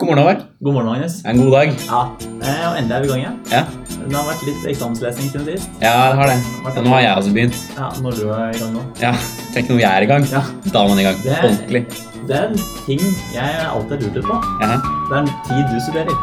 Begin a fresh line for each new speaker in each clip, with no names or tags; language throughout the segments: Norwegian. God morgen, Håvard.
God morgen, Magnus.
Det er En god dag.
Ja, eh, og endelig er vi i gang igjen.
Ja.
Det har vært litt eksamenslesning siden sist.
ja, det har det. Ja, nå har jeg også begynt.
Ja, når du er i gang nå.
Ja, Tenk når jeg er i gang.
Ja.
Da er man i gang.
Det er-
Ordentlig.
Det er en ting jeg alltid har lurt litt på.
Ja.
Det er en tid du studerer.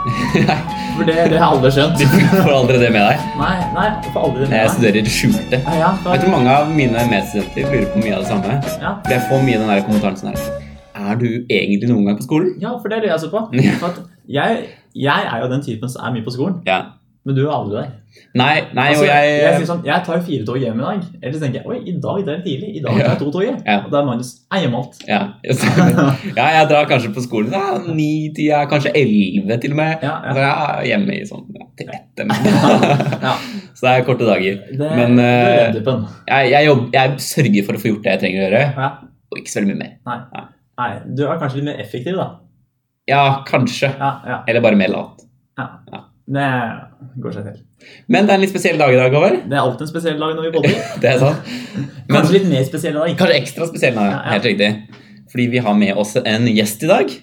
Nei,
For det, det har jeg aldri skjønt.
Du får aldri det med deg.
Nei, nei, jeg får aldri det
Jeg
med meg.
studerer i det skjulte.
Ja, ja,
Jeg
for,
tror mange av mine medstudenter lurer på mye av det samme.
ja.
For jeg får mye den der kommentaren sånn her Er du egentlig noen gang på skolen?
ja, for det lurer jeg også på.
Ja.
For at jeg, jeg er jo den typen som er mye på skolen,
Ja.
men du er aldri der.
Nei, nei,
Altså,
og jeg,
jeg sier sånn, jeg tar jo fire tog hjem i dag. Eller så tenker jeg oi, i dag det er det tidlig. I dag tar jeg to tog hjem.
Ja.
Og da er Magnus er hjemme alt.
ja, ja, jeg drar kanskje på skolen ja, ni, ti, ja, kanskje elleve til og med.
Ja,
Og
ja.
så er jeg hjemme i sånn ja, til ett. eller noe.
ja.
Så det er korte dager.
Det,
Men,
det er
eh,
rødduppen.
Jeg, jeg, jobb, jeg sørger for å få gjort det jeg trenger å gjøre,
Ja.
og ikke så veldig mye mer.
Nei, du er kanskje litt mer effektiv, da.
Ja, kanskje.
Ja, ja.
Eller bare mer lat.
Det går seg til.
Men det er en litt spesiell dag i dag, Håvard.
Det er alltid en spesiell dag når vi boller.
Det er sant. Men
Kanskje litt mer spesiell i dag.
kanskje ekstra spesiell dag.
Ja, ja.
Helt riktig. Fordi vi har med oss en gjest i dag.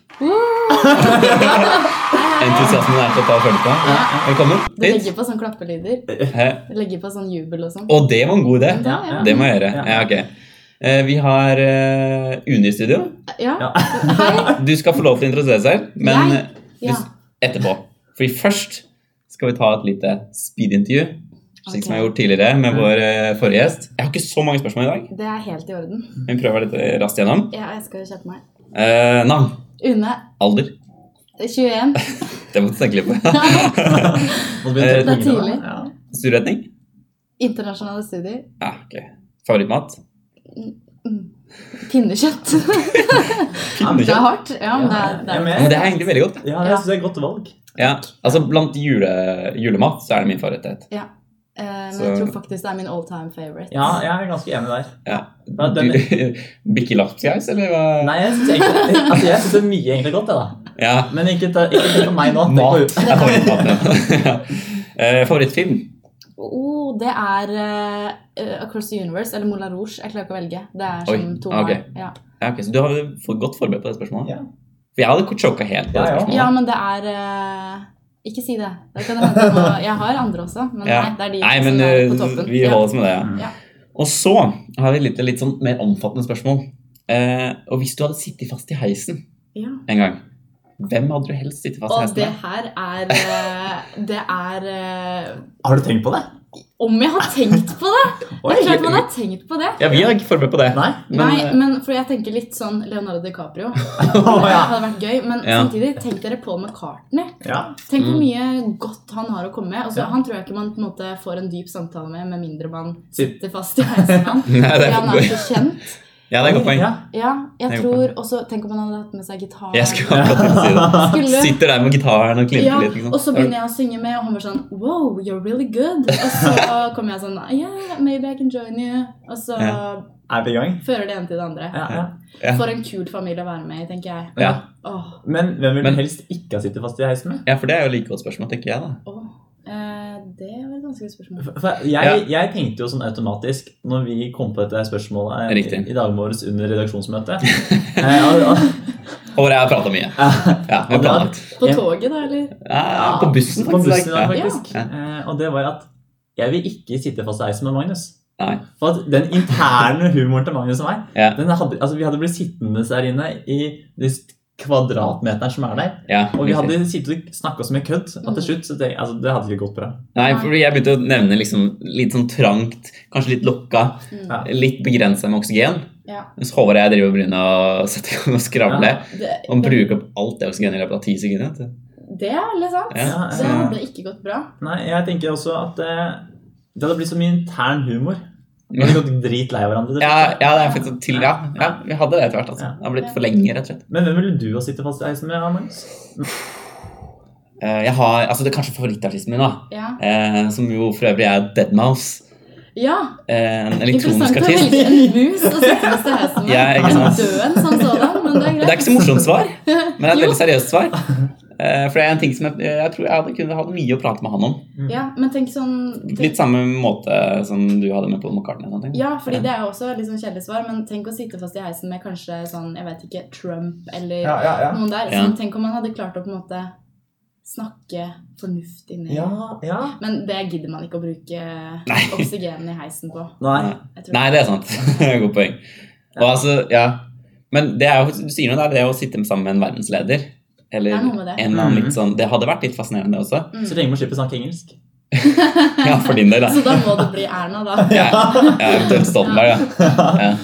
Entusiasmen er til å ta og følge på.
Ja, ja.
Velkommen
Du
hit.
legger på sånn klappelyder.
Hæ?
Du legger på sånn jubel og sånn.
Og det var en god idé.
Ja,
Ja,
Det må jeg gjøre.
Ja.
Ja, ok. Eh, Vi har eh, Une i studio.
Ja.
Ja.
Hei.
Du skal få lov til å introdusere selv, men
Jeg?
eh,
Ja.
hvis- etterpå. Fordi først skal vi ta et lite speedintervju, slik som jeg har gjort tidligere med
Mm.
vår eh, forrige gjest. Jeg har ikke så mange spørsmål i dag,
Det er helt i orden.
men vi prøver litt eh, raskt gjennom.
Ja, jeg skal kjøpe meg.
Eh, navn?
Une.
Alder?
21.
Det måtte jeg tenke litt på.
Må
Eh,
du begynne å
Det er
tenke på det?
tidlig.
Ja.
Studieretning?
Internasjonale studier.
Ja, ok. Favorittmat?
Mm. Pinnekjøtt. Det er
Pinnekjøtt?
hardt. Ja, men det er, det
Ja,
er.
Ja, men
men-
det er egentlig veldig godt.
Ja, jeg synes det er et godt valg.
Ja, altså Blant jule, julemat så er det min favoritthet.
Eh, Men jeg tror faktisk det er min all time favorite.
Ja, jeg er ganske enig der.
Ja.
Ja, den-
Du- Bikke lapskaus, eller hva?
Nei, jeg synes egentlig altså, jeg synes det er mye egentlig godt, jeg, da.
Ja.
Men ikke, ta, ikke tenk på meg nå. Tenk på
Mat er favorittmaten. Ja. Eh, Favorittfilm?
Oh, det er eh, Across the Universe eller Moulin Rouge. Jeg klarer ikke å velge. Det er
Oi,
som to
ah, ok.
her. Ja.
Ja, ok, Så du har jo fått godt forberedt på det spørsmålet?
Ja.
For jeg hadde sjokka helt på
Ja,
det
ja.
spørsmålet.
ja, men det er eh, Ikke si det. det kan hende jeg, må, jeg har andre også, men
Ja.
nei, det er de
Nei,
som
men
er på
eh,
toppen.
vi
Ja.
holder oss med det. ja.
Ja.
Og så har vi et lite, litt sånn mer omfattende spørsmål. Eh, og hvis du hadde sittet fast i heisen
Ja.
en gang, hvem hadde du helst sittet fast i
Og
heisen
det
med?
her er eh, Det er eh,
Har du tenkt på det?
Om jeg har tenkt på det! Det er klart man har tenkt på det.
Ja, vi har ikke forberedt på det.
Nei?
Men,
Nei,
eh,
men for jeg tenker litt sånn Leonardo DiCaprio. Det
Å, ja.
hadde vært gøy. Men
Ja.
samtidig, tenk dere Paul McCartney.
ja.
Tenk hvor
Mm.
mye godt han har å komme med. Altså,
Ja.
Han tror jeg ikke man på en måte får en dyp samtale med, med mindre man
Sitt.
sitter fast i heisen med han.
Nei, det
Fordi
er
han er så kjent.
Ja, det er et godt poeng.
Ja.
Ja,
Det
jeg
er godt
tror også Tenk om han hadde hatt med seg gitar.
Jeg skulle akkurat til å si det.
Skulle
Sitter der med gitaren og klimper
Ja,
litt. Liksom.
og så begynner jeg å synge med, og han bare sånn Wow, you're really good. Og så kommer jeg sånn Yeah, maybe I can join you. Og så
Ja.
Er vi i gang?
fører det ene til det andre.
Ja, ja.
Ja.
For en kul familie å være med i, tenker jeg.
Ja.
Åh,
Men hvem vil
Men-
du helst ikke ha sittet fast i heisen med?
Ja, for det er jo like godt spørsmål, tenker jeg, da.
åh. Eh, det var et vanskelig spørsmål.
For- For jeg, jeg tenkte jo sånn automatisk når vi kom på dette spørsmålet eh,
Riktig.
i dag morges under redaksjonsmøtet eh, og, og, eh,
Og jeg har prata mye. Ja, vi har planlagt.
På
Ja.
toget, da, eller?
Ja, på bussen,
på
faktisk.
bussen i dag,
Ja.
faktisk.
Ja.
Eh, Og det var at jeg vil ikke sitte fast i heisen med Magnus.
Nei.
For at den interne humoren til Magnus og meg
Ja.
den hadde, altså Vi hadde blitt sittende der inne i de kvadratmeterne som er der.
Ja,
Og vi
riktig. Mm.
hadde sittet og snakka så mye kødd at til slutt så det, altså, det hadde ikke gått bra.
Nei, for jeg begynte å nevne liksom, litt sånn trangt, kanskje litt lokka,
Mm.
Ja.
litt begrensa med oksygen.
Ja.
Mens Håvard og jeg driver og begynner å sette i gang og skravle.
Det,
Og bruker opp alt det oksygenet i løpet av ti sekunder. vet du.
det er veldig sant.
Ja,
Det
ja.
hadde ikke gått bra.
Nei, jeg tenker også at eh, det hadde blitt så mye intern humor. Vi hadde gått dritlei av hverandre. til
Ja,
slutt.
ja, det er faktisk sånn til, ja, ja, vi hadde det etter hvert. Altså.
Ja.
Det har blitt for lenge, rett og slett.
Men hvem ville du ha sittet fast i heisen med, Magnus?
Eh, Jeg har, altså Det er kanskje favorittartisten min, da.
Ja.
Eh, som jo for øvrig er Deadmouse.
ja.
Eh, en elektronisk
Interessant å
artist.
velge en mus å sitte fast i heisen med.
Ja, ikke sant?
Døden som sådan, men det er
Det er
greit.
ikke så morsomt svar, men det er et
Jo.
veldig seriøst svar. Eh, For det er en ting som jeg, jeg tror jeg hadde kunne hatt mye å prate med han om.
Mm.
Ja, men tenk sånn tenk,
Litt samme måte som du hadde med Paul McCartney. og sånne ting.
Ja, fordi det er jo også et litt sånn kjedelig svar, men tenk å sitte fast i heisen med kanskje sånn, jeg vet ikke, Trump eller
Ja, ja, ja.
noen der.
Ja.
Sånn, tenk om man hadde klart å på en måte snakke fornuftig ned.
Ja, ja.
Men det gidder man ikke å bruke
Nei.
oksygenet i heisen på.
Nei.
Jeg tror.
Nei, det er sant. Godt poeng. Og
Ja.
altså, ja. Men det er jo, du sier noe der, det er å sitte sammen med en verdensleder. Eller
Det er
en
noe med det.
eller annen
Mhm.
litt sånn Det hadde vært litt fascinerende, det også.
Mm.
Så lenge man slipper å snakke engelsk.
Ja, for din del, da.
Så da må det bli Erna, da.
Ja, ja eventuelt Stoltenberg, ja. ja.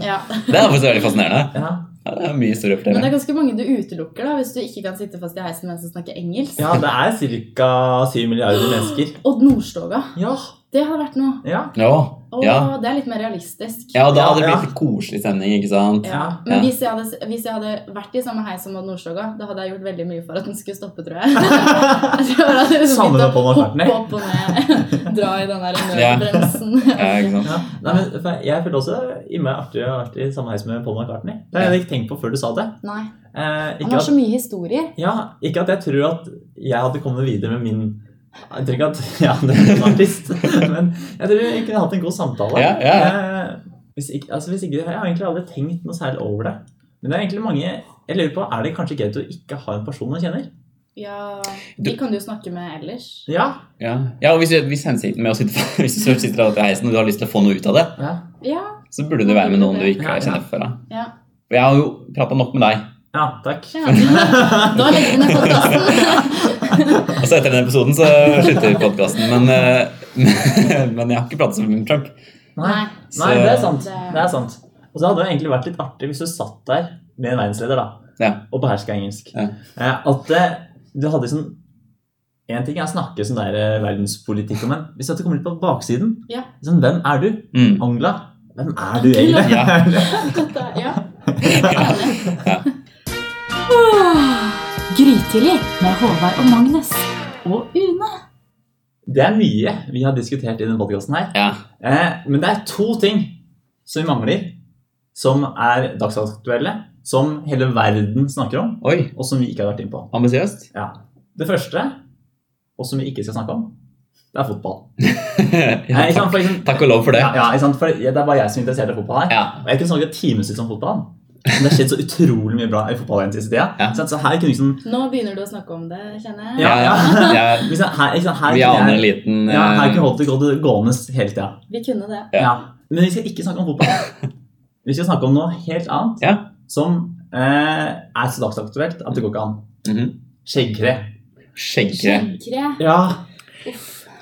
Ja.
Det er faktisk veldig fascinerende.
Ja,
Ja, det er mye større
Men det
opplevelse.
er ganske mange du utelukker da, hvis du ikke kan sitte fast i heisen mens du snakker engelsk.
ja det er ca. 7 milliarder mennesker.
Odd Nordstoga.
Ja,
Det hadde vært noe.
ja.
Ja.
Og
Ja.
det er litt mer realistisk.
ja, da hadde det
Ja,
blitt litt koselig stemning, ikke sant?
Ja.
Ja.
Men hvis jeg, hadde, hvis jeg hadde vært i samme heis som Odd Nordstoga, da hadde jeg gjort veldig mye for at den skulle stoppe, tror jeg. Jeg tror jeg hadde liksom
Savner
begynt å
du Paul McCartney?
Hoppe opp og ned, dra i den der
Ja.
nødbremsen.
Ja, ikke sant?
Ja. Nei, men for Jeg følte også innmari artig å ha vært i samme heis med Paul McCartney. Det har jeg ikke tenkt på før du sa det.
Nei.
Eh,
Han
ikke,
har
at,
så mye historier.
ja, ikke at jeg tror at jeg hadde kommet videre med min Jeg tror ikke at jeg hadde vært en artist, men jeg tror jeg kunne hatt en god samtale.
Ja, ja,
Eh, hvis ikke, altså hvis ikke, jeg har egentlig aldri tenkt noe særlig over det. Men det er egentlig mange Jeg lurer på, Er det kanskje greit å ikke ha en person man kjenner?
Ja, De kan du jo snakke med ellers.
Ja.
Ja, ja og hvis, hvis hensikten med å sitte Hvis du sitter der oppe i heisen og du har lyst til å få noe ut av det,
Ja,
Ja.
så burde du være med noen du ikke
Ja, ja.
kjenner fra.
ja.
For jeg har jo prata nok med deg.
ja takk.
ja. Da legger vi ned podkasten.
Altså Etter den episoden så slutter vi podkasten, men, eh, men jeg har ikke pratet så mye med Trump.
Nei.
Nei.
Nei, det er sant.
Det-
Det er sant. Og så hadde det egentlig vært litt artig hvis du satt der med en verdensleder da,
Ja.
og beherska engelsk.
Ja.
Eh, At eh, du hadde sånn En ting er å snakke sånn der eh, verdenspolitikk om en. Hvis at du kommer litt på baksiden
Ja.
sånn, Hvem er du?
Mm.
Angela? Hvem er du egentlig?
Dette- Ja.
Ja.
Grytidlig med Håvard og Magnus og Une.
Det er mye vi har diskutert i denne podkasten her.
Ja.
Eh, Men det er to ting som vi mangler, som er dagsaktuelle, som hele verden snakker om,
Oi,
og som vi ikke har vært inne på.
ambisiøst.
Ja. Det første, og som vi ikke skal snakke om, det er fotball.
ja,
Nei, ikke
takk,
sant, for eksempel-
takk og lov for det.
Ja, ja, ikke sant? For det er bare jeg som er interessert i fotball her.
Ja.
Og jeg kunne snakket timevis om fotball. Men det har skjedd så utrolig mye bra i fotballen den siste tida.
Ja.
Ikke sant? Så her kunne liksom
Nå begynner du å snakke om det, kjenner jeg.
Ja.
Ja, ja. Jeg-
ikke sant, her, ikke sant, her,
Vi
kunne
aner en
jeg,
liten
ja, her kunne jeg
eh,
holdt det godt gående hele tida.
Vi kunne det.
Ja.
Ja. Men vi skal ikke snakke om fotball. Vi skal snakke om noe helt annet
Ja.
som eh, er så dagsaktuelt at det går ikke an.
mhm.
Skjeggkre.
Skjeggkre.
Skjeggkre.
Ja.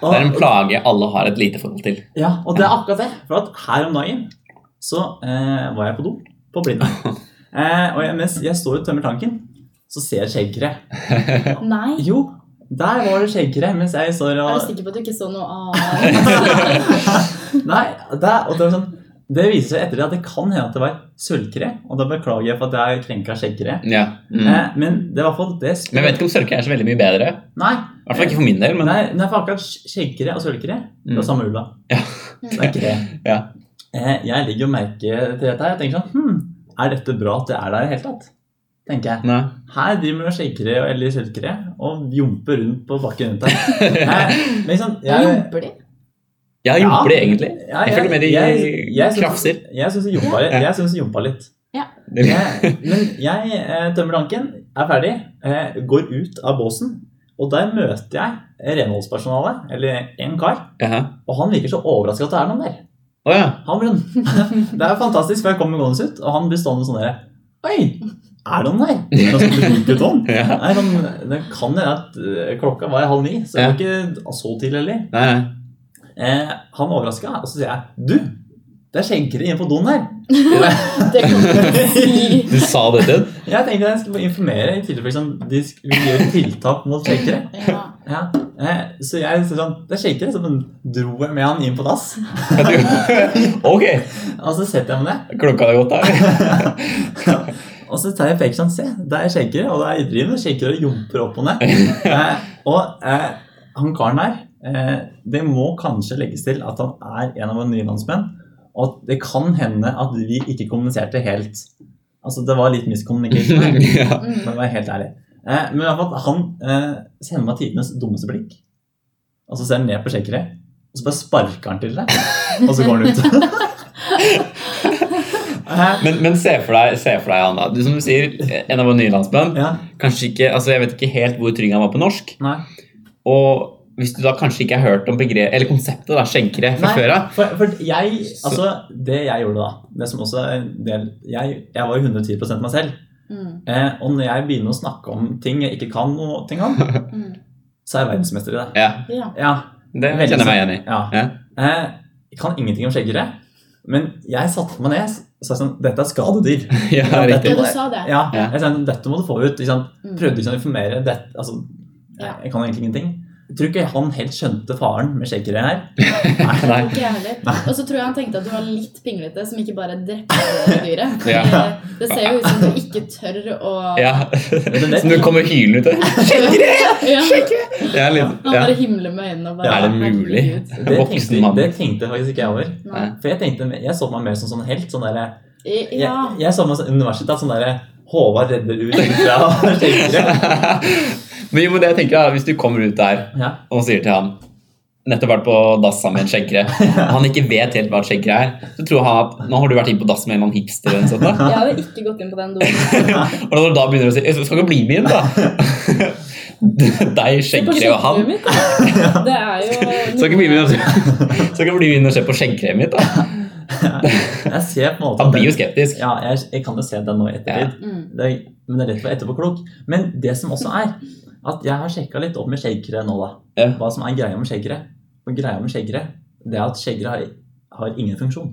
Det er en plage alle har et lite forhold til.
Ja, og det er akkurat det. For at her om dagen så eh, var jeg på do på Blindern. Eh, og jeg, mens jeg står og tømmer tanken, så ser jeg skjeggkre.
Nei.
Jo, der var det skjeggkre mens jeg står
Er du
og
sikker på at du ikke så noe annet?
Nei, der, og det, var sånn, det viser seg etter det at det kan hende at det var sølvkre. Og da beklager jeg for at jeg krenka skjeggkre.
Ja. Mm.
Eh, men det var for det
Men jeg vet ikke om sørke er så veldig mye bedre.
Nei,
I hvert fall ikke for min del, men
nei, nei, for akkurat skjeggkre og sølvkre det
Mm.
er samme ulla.
Ja.
Det er kre.
Ja.
Eh, jeg legger jo merke til dette her. Jeg tenker sånn hm, Er dette bra at det er der i det hele tatt? Tenker jeg.
Nei.
Her driver man skjeggkre og- eller skjeggkre og jumper rundt på bakken rundt her. Nei, men liksom, jeg,
Jumper de?
Jeg har gjort det, egentlig.
Ja,
Jeg følger med de
jeg syns-
krafser.
Jeg syns de jumpa litt. Jeg synes de jumpa litt.
Det,
Jeg, men jeg eh, tømmer tanken, er ferdig, eh, går ut av båsen. Og der møter jeg renholdspersonalet, eller en kar.
ja.
Og han virker så overraska at det er noen der.
Å ja.
Han blir sånn, Det er fantastisk, for jeg kommer gående ut, og han blir stående sånn der. Oi! Er det noen der? Det er noen som blir runket om.
ja.
Nei, sånn, det kan hende at eh, klokka var halv ni, så det var ikke så tidlig heller.
Nei, nei.
Eh, han overraska, og så sier jeg Du, det er skjeggkre inne på doen her.
Det kan du ikke si.
Du sa det til den?
Jeg tenkte jeg skulle bare informere i tilfelle liksom, de sk- vil gjøre tiltak mot skjeggkre.
Ja.
Ja. Eh, så jeg sa sånn Det er skjeggkre. Så dro jeg med han inn på dass.
Ja, du- Ok,
Og så setter jeg meg ned,
klokka er gått der.
og så tar jeg pekeren sånn Se, der er skjeggkre, og der driver han skjeggkre og jumper opp og ned. Eh, og eh, han karen der eh, Det må kanskje legges til at han er en av våre nye landsmenn. Og at det kan hende at vi ikke kommuniserte helt. Altså, det var litt miscommunication. her,
Ja.
For
Mm.
å være helt ærlig. Eh, men i hvert fall, han eh, sender meg tidenes dummeste blikk. Og så ser han ned på sjekkere, og så bare sparker han til deg. Og så går han ut. eh,
Men, men se for deg, se for deg han da. Du, som du sier, en av våre nye landsmenn.
ja,
Kanskje ikke, altså Jeg vet ikke helt hvor trygg han var på norsk.
nei.
Og hvis du da kanskje ikke har hørt om begre eller konseptet da, skjenkere fra
Nei,
før av
For, for jeg,
Så-
altså, det jeg gjorde da, det som også er en del, jeg, jeg var jo 110 meg selv.
Mm,
Eh, og når jeg begynner å snakke om ting jeg ikke kan noe ting om,
mm.
så er jeg verdensmester i det.
Ja,
Ja.
Ja,
det kjenner jeg meg igjen i.
Ja.
Ja.
Eh, jeg kan ingenting om skjeggere, men jeg satte meg ned og sa sånn Dette er skadedyr.
Ja,
Ja, dette-
riktig.
ja, du sa det.
Ja,
Ja.
jeg sa, Dette må du få ut. Ikke sant?
Mm.
Prøvde ikke å informere. Det, altså,
Ja.
Jeg kan egentlig ingenting. Jeg tror ikke han helt skjønte faren med skjeggere her.
Nei.
Ikke jeg heller. Og så tror jeg han tenkte at du var litt pinglete, som ikke bare drepte dyret.
Ja.
Eh, Det ser jo ut som du ikke tør å
Ja.
det-
Som du kommer hylende ut av.
Ja.
Ja, litt,
Han
ja.
bare himler med øynene og bare
Er det mulig?
herregud.
Det
Voksen
tenkte,
mann.
det tenkte faktisk ikke jeg over.
Nei.
For jeg tenkte, jeg så meg mer som sånn helt. Sånn derre-
I-
jeg,
Ja.
jeg så meg som universitet, sånn derre Håvard redder ut fra skjeggere.
Men jo, men det jeg tenker da, Hvis du kommer ut der
Ja.
og sier til han Nettopp vært på dass sammen med en skjenkere. og Han ikke vet helt hva et skjenkere er. Så tror han at nå har du vært inne på dass med en eller annen hipster. Eller noe sånt, da.
Jeg hadde ikke gått inn på den doen.
Og når du da begynner å si «Jeg 'Skal ikke bli med inn', da. Deg,
Se på
skjeggkrevet og han.
kjøkkenet mitt, da. Det er jo
Skal ikke bli med inn og se, skal ikke bli med inn og se på skjeggkrevet mitt, da.
Jeg ser på en måte
Han blir jo skeptisk.
Ja, jeg, jeg kan jo se den nå i ettertid.
Mm.
Det, er- men det er lett å være etterpåklok. Men det som også er, at jeg har sjekka litt opp med shakere nå, da.
Ja.
Hva som er greia med shakere. Og greia med shakere, det er at shakere har, har ingen funksjon.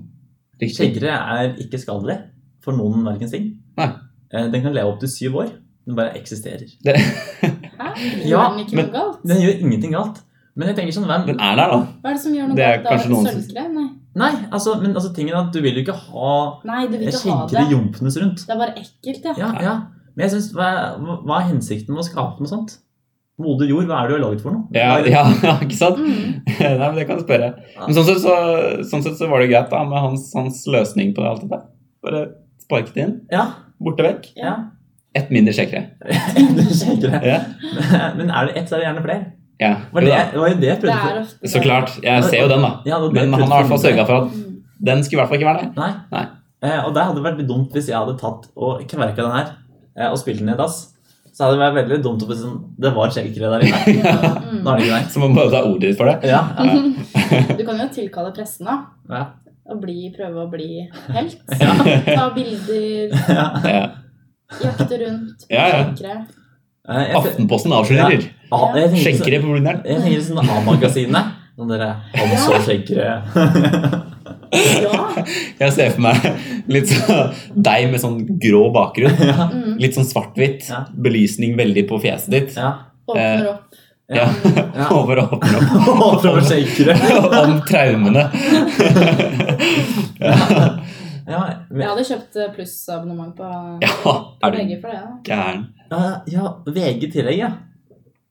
Riktig.
Shakere er ikke skadelig for noen verdens ting.
Nei.
Eh, Den kan leve opptil syv år. Den bare eksisterer.
Det,
Hæ?
Ja,
Gjør den ikke
men-
noe galt?
Den gjør ingenting galt. Men jeg tenker sånn, hvem
den er der, da.
Hva er det som gjør noe
Det er
galt? da?
kanskje noen som-
Sølvskrev? Nei.
Nei, altså, men altså, tingen er at du vil jo ikke ha
Nei, du vil ikke ha
skjeggere
det.
jompenes rundt.
Det er bare ekkelt, ja.
Ja, ja. Men jeg synes, hva, er- hva er hensikten med å skape noe sånt? Moder jord, hva er det du har laget for noe?
Ja,
Hva er-
ja, ikke sant?
Mm.
Nei, men Det kan du spørre. Men sånn sett så, sånn sett så var det greit da, med hans, hans løsning på alt dette. Bare sparket inn,
ja.
borte vekk.
ja.
Ett mindre skjeggkre.
Det er ikke det.
Ja.
Men er det ett, så er det gjerne flere.
Ja.
Var det,
jo da.
det var jo det jeg
Det
prøvde
er
for.
ofte
Så klart. Jeg ser jo den, da.
Ja, det var det jeg
Men han
prøvde
har i hvert fall
for.
sørga for at
Mm.
den skulle i hvert fall ikke være der.
Nei.
Nei.
Eh, og det hadde vært litt dumt hvis jeg hadde tatt og kverka den her eh, og spilt den i dass. Så hadde det vært veldig dumt hvis den- det var skjeggkre der inne.
Mm.
Nå er det ikke der.
Så man bare ta ordet ditt for det.
Ja, ja,
Du kan jo tilkalle pressen, da.
ja.
Og bli, prøve å bli helt.
Ja.
Ta bilder,
ja.
Ja.
jakte rundt,
Ja, ja.
skjenkere.
Eh, jeg, jeg,
Aftenposten avslører.
ah, jeg tenker så-
Skjenkere på Blindern.
jeg tenker sånn A-magasinet. Sånn dere Han så skjeggkre.
Ja.
Jeg ser for meg litt sånn deg med sånn grå bakgrunn.
Mm.
Litt sånn svart-hvitt.
Ja.
Belysning veldig på fjeset ditt.
Ja.
Eh,
Åpner opp. Mm.
Ja.
Ja.
Over og åpner opp
Fra skjeggkre.
om traumene.
Ja, men-
Jeg hadde kjøpt eh, plussabonnement på
Ja,
på
er du
VG for det. da.
gæren.
ja, ja, VG i tillegg, ja.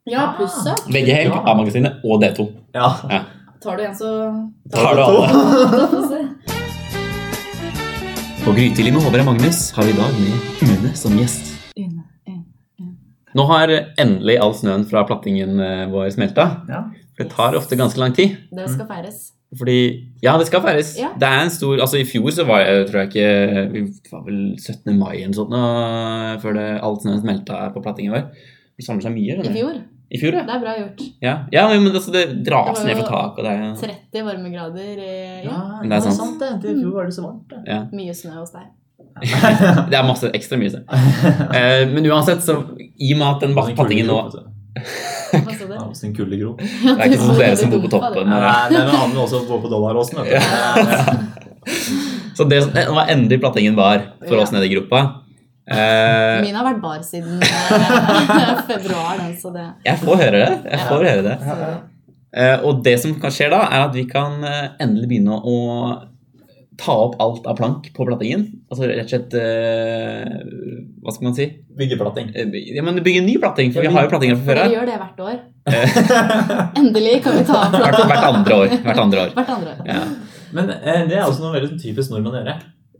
Ja, plusset.
VG Helg,
Ja.
A-magasinet og D2.
Ja.
Tar du en, så
Tar du alle?
alle.
På Grytidlig med Håvard og Magnus har vi i dag med Une som gjest. Nå har endelig all snøen fra plattingen eh, vår smelta.
Ja.
Det tar ofte ganske lang tid.
Det skal feires.
Fordi Ja, det skal feires.
Ja.
Det er en stor Altså, i fjor så var jeg, tror jeg ikke Vi var vel 17. mai eller noe sånt nå, før det, all snøen smelta på plattingen vår. Det samler seg mye.
I
eller?
fjor.
I fjor, ja.
Det er bra gjort.
ja. Ja, men altså, det dras
Det var
ned
jo-
fra taket, og det er
30 varmegrader. eh, Ja.
Ja,
Men det er sant.
det. I fjor var det så varmt. Det.
Mye snø hos deg.
Det er masse ekstra mye. så. Eh, men uansett, så i og med at den bak- plattingen nå
Hva sa du?
Ja, sin kuldegrop.
Det er ikke sånn dere som bor på toppen.
Nei, det er noe annet også på på Dollaråsen. vet du. eh, Ja.
Så det som- det var endelig plattingen var for
Ja.
oss nede i gruppa. Eh,
Min har vært bar siden eh, februar, den, så det
jeg får høre det. Jeg får høre det.
så,
Eh, og det som kan skje da, er at vi kan eh, endelig begynne å ta opp alt av plank på plattingen. Altså rett og slett eh, Hva skal man si?
Byggeplatting.
Eh, Ja, men bygge en ny platting, for vi har jo plattinger fra før
Dere
av.
gjør det hvert år. Endelig kan vi ta opp
Hvert, hvert andre år. Hvert andre år.
hvert andre år.
Ja.
Men eh, det er også noe veldig sånn typisk nordmenn å gjøre.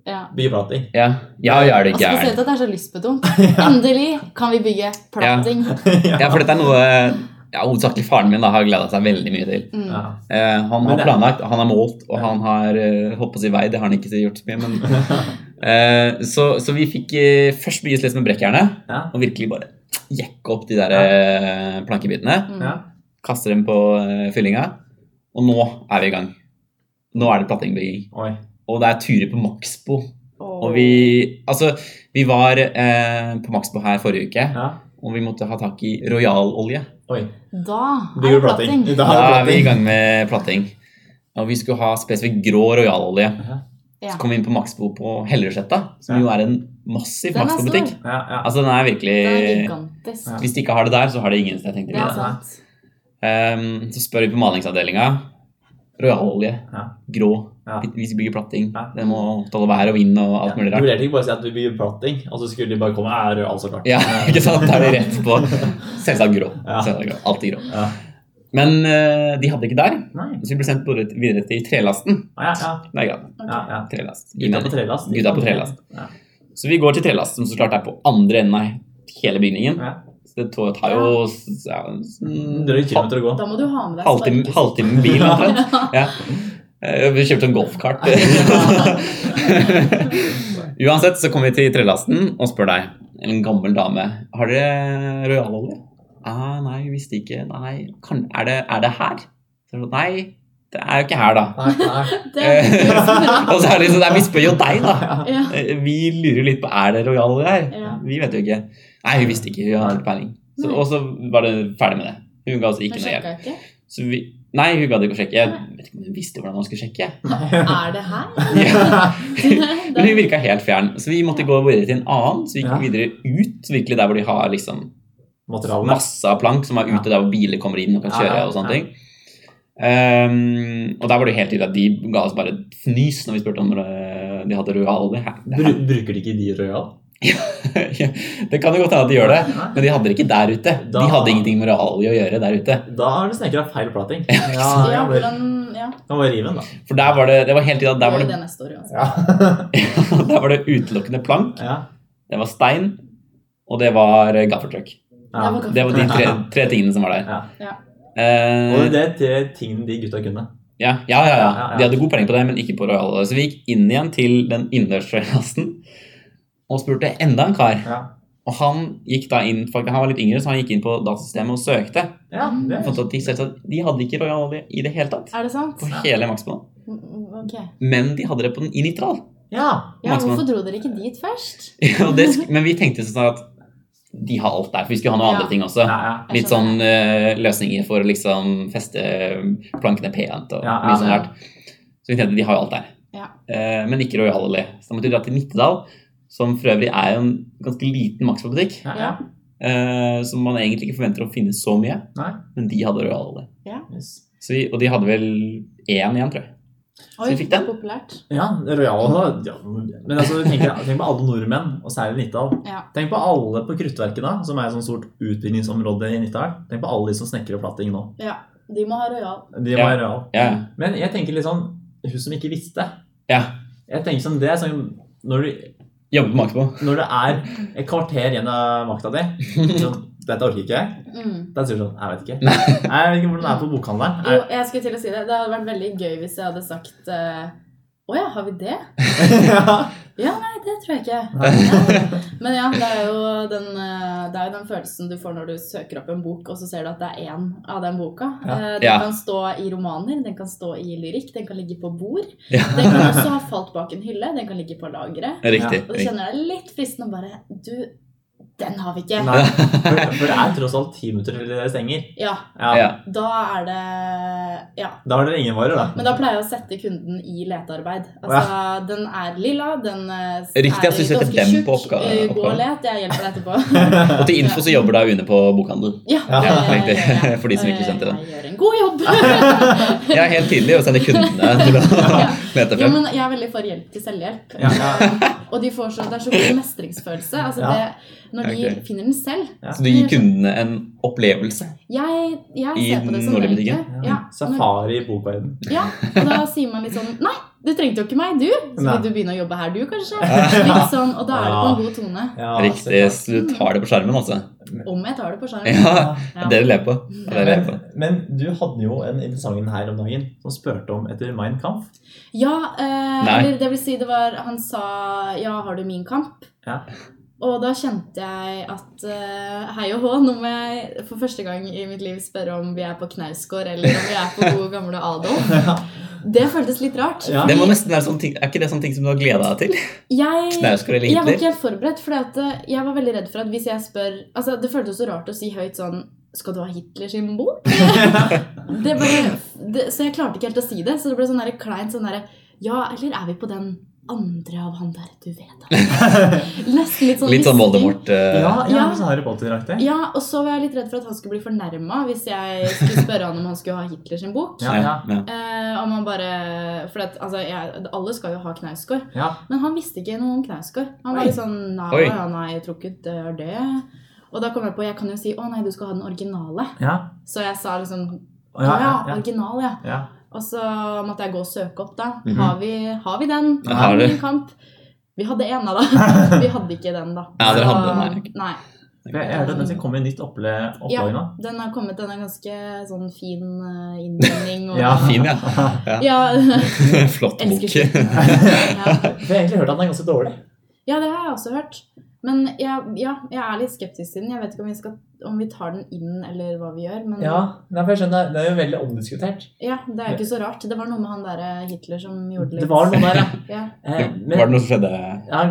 Ja.
Byplating.
Ja, ja, ja er du
Og
gæren.
Altså, spesielt at det er så lystbetont. Endelig kan vi bygge platting.
Ja, for dette er noe ja, hovedsakelig faren min da, har gleda seg veldig mye til.
Mm.
Ja.
Eh, han
Men
har
det-
planlagt, han har målt, og
Ja.
han har eh, holdt på å si vei. Det har han ikke gjort så mye, men eh, så, så vi fikk eh, først mye slits med brekkjernet,
Ja.
og virkelig bare jekke opp de der eh, plankebitene.
Mm.
Ja.
Kaste dem på eh, fyllinga. Og nå er vi i gang. Nå er det plattingbygging.
Oi.
Og det er turer på Maxbo.
Og-
Og vi Altså, vi var eh, på Maxbo her forrige uke,
Ja.
og vi måtte ha tak i royalolje.
Oi.
Da
Bygger
er det
du plating?
platting.
Da
Da
er
er vi
det
i
plating.
gang med platting. Og vi skulle ha spesifikt grå royalolje.
Ja.
Så kom vi inn på Maxbo på Hellersletta, som
Ja.
jo er en massiv
Den er
Maxbo-butikk.
stor.
Ja, ja.
Altså, den er
Den er
virkelig
gigantisk.
Ja.
Hvis de ikke har det der, så har de ingen sted, tenkte vi.
Det
Ja.
er sant.
Ehm, så spør vi på malingsavdelinga. Royalolje.
Ja.
Grå.
Ja.
Vi vi bygger platting.
Ja.
Den må tåle vær og vind og alt mulig
Du
rart.
vurderte ikke bare å si at du bygger plating, og så skulle de bare komme er altså klart.
Ja, ikke sant? Da er de rett på. Selvsagt grå.
Ja.
Selvsagt grå. Alltid grå.
Ja.
Men eh, de hadde ikke der,
Nei.
så vi ble sendt både videre til trelasten.
Ja, ja.
Nei, ja,
Ok.
ja, ja.
trelast.
Gutta på trelast.
Gutta på trelast.
Ja.
Så vi går til trelast, som så klart er på andre enden av hele bygningen.
Ja. Mm,
Så det tar- tar jo s- ja, s-
En Drøy kilometer å gå.
Da må du ha med deg
halvtime,
sparkesykkel.
halvtime med bil, omtrent. Ja. Eh, Vi kjøpte en golfkart. Uansett så kommer vi til trelasten og spør deg, en gammel dame, har dere royalolje? Ah, nei, vi visste ikke. Nei, kan, er, det, er det her? Så, jeg sa, nei, det er jo ikke her, da.
Nei, nei.
Det er
Eh, og så er det liksom, "Nei, vi spør jo deg, da.
ja.
Eh, Vi lurer jo litt på er det royale her.
Ja.
Vi vet jo ikke. Nei, hun visste ikke. Hun hadde ikke peiling. Så,
Nei.
og så var det ferdig med det. Hun ga oss ikke
Men
noe hjelp.
sjekka ikke.
Så vi, nei, hun gadd ikke å sjekke. Jeg vet ikke om hun visste hvordan man skulle sjekke.
Er det her?
Men hun virka helt fjern, så vi måtte gå videre til en annen. Så vi gikk
Ja.
videre ut, virkelig der hvor de har liksom
Materialene.
masse av plank som er ute der hvor biler kommer inn og kan
Ja,
kjøre
ja,
og sånne ting. Ehm, og der var det jo helt tydelig at de ga oss bare et fnys når vi spurte om eh, de hadde royale.
Bru bruker de ikke de røyal?
Ja, det kan jo godt hende at de gjør det,
Nei.
men de hadde det ikke der ute.
Da-
De hadde ingenting med realie å gjøre der ute.
Da har du snekra feil plating. Ja,
Ja,
ja, vel.
hvordan Ja,
Da må jeg rive den, da.
For der var det, det var helt tydelig at
det
der
var
var
jo
det, altså.
det neste året.
Ja.
der var det utelukkende plank,
ja.
det var stein, og det var eh, gaffeltruck.
ja.
var
Det var de tre, tre tingene som var der.
Ja.
Ja.
Og
Eh,
det er tre tingene de gutta kunne.
ja, ja, ja, ja.
Ja, ja, ja.
De hadde god peiling på det, men ikke på royale. Så vi gikk inn igjen til den innendørsrassen og spurte enda en kar.
Ja.
Og han gikk da inn, faktisk, han var litt yngre, så han gikk inn på datasystemet og søkte.
Ja, det
Og fant at de, selvsagt- de hadde ikke royale i det hele tatt.
Er det sant? Mm,
På hele maksplanen.
Ok.
Men de hadde det på den i nitral.
Ja.
Ja, hvorfor dro dere ikke dit først?
Og det sk- men vi tenkte sånn at de har alt der, for vi skulle ha noen
Ja.
andre ting også.
Ja, ja.
Litt
Jeg skjønner.
sånn eh, løsninger for å liksom feste plankene pent og
Ja, ja,
mye sånn
ja.
rart. Så vi tenkte de har jo alt der.
Ja.
Eh, men ikke Royal Alley. Så da måtte vi dra til Nittedal, som for øvrig er jo en ganske liten Maxbo-butikk.
ja, ja.
eh, som man egentlig ikke forventer å finne så mye,
Nei.
men de hadde Royal Alley.
Yes.
Så vi, og de hadde vel én igjen, tror jeg.
Oi,
vi fikk den.
Populært.
Ja, Royal ja. Men altså, tenk, tenk på alle nordmenn, og særlig Nittedal.
Ja.
Tenk på alle på Kruttverket, da, som er et sånt stort utbyggingsområde i Nittedal. Tenk på alle de som snekrer platting nå.
De må ha rojal.
De
Ja.
var Royal.
Ja,
Men jeg tenker litt sånn Hun som ikke visste.
ja.
Jeg tenker sånn, Det er sånn når, du,
Jobbe på Maxbo.
når det er et kvarter igjen av makta di sånn, Dette orker ikke jeg.
Mm.
Da sier du sånn Jeg vet ikke. Nei, Jeg vet ikke hvordan det er på bokhandelen.
Jo,
Jeg,
jeg skulle til å si det. Det hadde vært veldig gøy hvis jeg hadde sagt eh, Å ja, har vi det?
ja.
Nei, det tror jeg ikke. Ja. Men ja, det er, jo den, eh, det er jo den følelsen du får når du søker opp en bok, og så ser du at det er én av den boka.
Ja.
Eh, Den
Ja.
kan stå i romaner, den kan stå i lyrikk, den kan ligge på bord.
Ja.
Den kan også ha falt bak en hylle, den kan ligge på lageret.
Riktig.
Og du
riktig.
kjenner deg litt fristende og bare Du, den har vi ikke.
Nei, for, for det er tross alt ti minutter til dere stenger.
Ja,
Ja,
Ja.
da er det Ja.
Da har dere ingen varer, da.
Men da pleier jeg å sette kunden i letearbeid. Altså, Den er lilla, den eh,
Riktig,
er
altså, du setter
ganske
dem
tjukk.
på oppga-
Eh, Gå og
oppgaven.
let, jeg hjelper deg etterpå.
Og til info så jobber da UNE på bokhandel.
Ja,
Ja,
det gjør
riktig.
jeg.
For de som ikke skjønte det.
Eh, Jeg gjør en god jobb!
Jeg er helt tidlig og sender kundene til å
Ja.
lete
Jo,
frem.
men jeg er veldig for hjelp til selvhjelp.
Ja, ja.
Og de får så, det er så god mestringsfølelse. Altså,
Ja.
det, når de
Ok.
finner den selv.
Så du gir kundene en opplevelse.
Jeg, jeg
I
ser på det som
Nordli-butikken?
egentlig. Ja, når-
Safari i bokverden.
ja, og da sier man litt sånn Nei, Du trengte jo ikke meg, du.
Nei.
Skal du begynne å jobbe her, du, kanskje? Litt sånn, og da er det på en god tone.
Ja,
Riktig. Så du tar det på skjermen, altså.
Om jeg tar det på skjerm.
Ja, det
Ja.
er det du ler på.
Mm.
Det er det du ler
Men,
på.
men du hadde jo en interessant en her om dagen som spurte om etter Mein Kampf.
Ja, eh,
Nei.
eller det vil si det var Han sa 'ja, har du min kamp?'
Ja.
Og da kjente jeg at eh, hei og hå, nå må jeg for første gang i mitt liv spørre om vi er på Knausgård, eller om vi er på gode gamle Adolf. Det føltes litt rart.
Ja.
Det må nesten være sånn ting, Er ikke det sånn ting som du har gleda deg til?
Jeg, jeg
Knausgård eller
var
Hitler?
ikke helt forberedt, for jeg var veldig redd for at hvis jeg spør Altså, det føltes så rart å si høyt sånn skal du ha Hitler sin bok? det bare, det, så jeg klarte ikke helt å si det. Så det ble sånn der kleint sånn derre Ja, eller er vi på den andre av han der du vet om?» Nesten litt sånn
Litt sånn
hvisking.
Voldemort eh,
Ja, ja,
Ja.
så Harry Potter-aktig.
Ja, og så var jeg litt redd for at han skulle bli fornærma hvis jeg skulle spørre han om han skulle ha Hitler sin bok.
Ja, ja,
ja.
Eh, om han bare For at, altså, jeg, alle skal jo ha Knausgård.
ja.
Men han visste ikke noe om Knausgård. Han var
Oi.
litt sånn nei,
Oi.
ja, nei, jeg tror ikke det er det. Og da kom jeg på jeg kan jo si å nei, du skal ha den originale.
ja.
Så jeg sa liksom
Å,
å
ja,
ja,
ja, ja.
original, ja.
ja.
Og så måtte jeg gå og søke opp, da.
Mhm.
har, vi, har vi den?
Ja, har
Har vi
du?
en kamp? Vi hadde en av da. Vi hadde ikke den, da.
Ja, dere
Så-
hadde den,
nei.
Jeg jeg hørte at det skal komme et nytt opple opplag nå.
Ja, den har kommet den er ganske sånn fin eh, innvending. Og,
Ja.
Fin, ja.
Ja,
Flott bok.
Elsker slutten. ja.
For jeg har egentlig hørt at den er ganske dårlig.
Ja, det har jeg også hørt. Men jeg, ja, jeg er litt skeptisk til den. Jeg vet ikke om vi, skal, om vi tar den inn, eller hva vi gjør. Men ja.
Ja, nei, for jeg skjønner, det er jo veldig omdiskutert.
det er jo ikke så rart. Det var noe med han der eh, Hitler som gjorde litt
Det var noe der, ja.
Ja.
Eh,
Var det
Men,
noe som skjedde
ja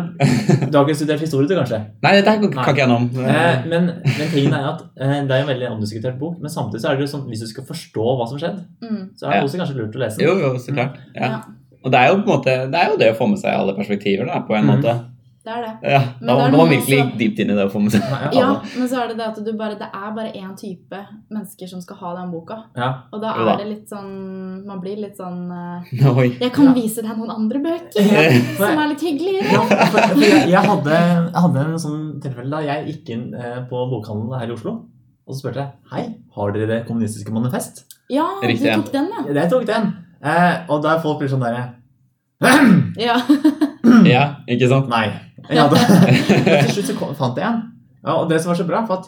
du har ikke studert historie, du, kanskje?
Nei, dette her kan kan ikke jeg noe om.
Eh, Men, men tingen er at eh, det er jo en veldig omdiskutert bok, men samtidig så er det jo sånn hvis du skal forstå hva som skjedde,
Mm.
så er det
Ja.
også kanskje lurt å lese
Jo,
den.
jo, så klart. Ja.
Ja.
Og det er jo på en måte Det er jo det å få med seg alle perspektiver, da, på en
Mhm.
måte.
Det er det.
Ja,
Men
da
det er
må
noe
man virkelig
også-
gikk dypt inn i det å få med seg
Nei, jeg
Ja,
hadde-
men så er det det at du bare, det er bare én type mennesker som skal ha den boka.
ja.
Og da
Jo da.
er det litt sånn Man blir litt sånn eh,
Oi.
Jeg kan
Ja.
vise deg noen andre bøker
Eh,
For-
som er litt hyggeligere.
Ja, for, for jeg, jeg, hadde, jeg hadde en sånn tilfelle da jeg gikk inn eh, på bokhandelen her i Oslo. Og så spurte jeg hei, har dere det kommunistiske manifest.
Ja, du
Riktig, ja.
tok den, ja.
Jeg tok den. Eh, og der folk blir sånn derre
ja.
Ja, ikke sant?
Nei. Ja, da, og til slutt så kom, fant jeg en. Ja, og det som var så bra, for at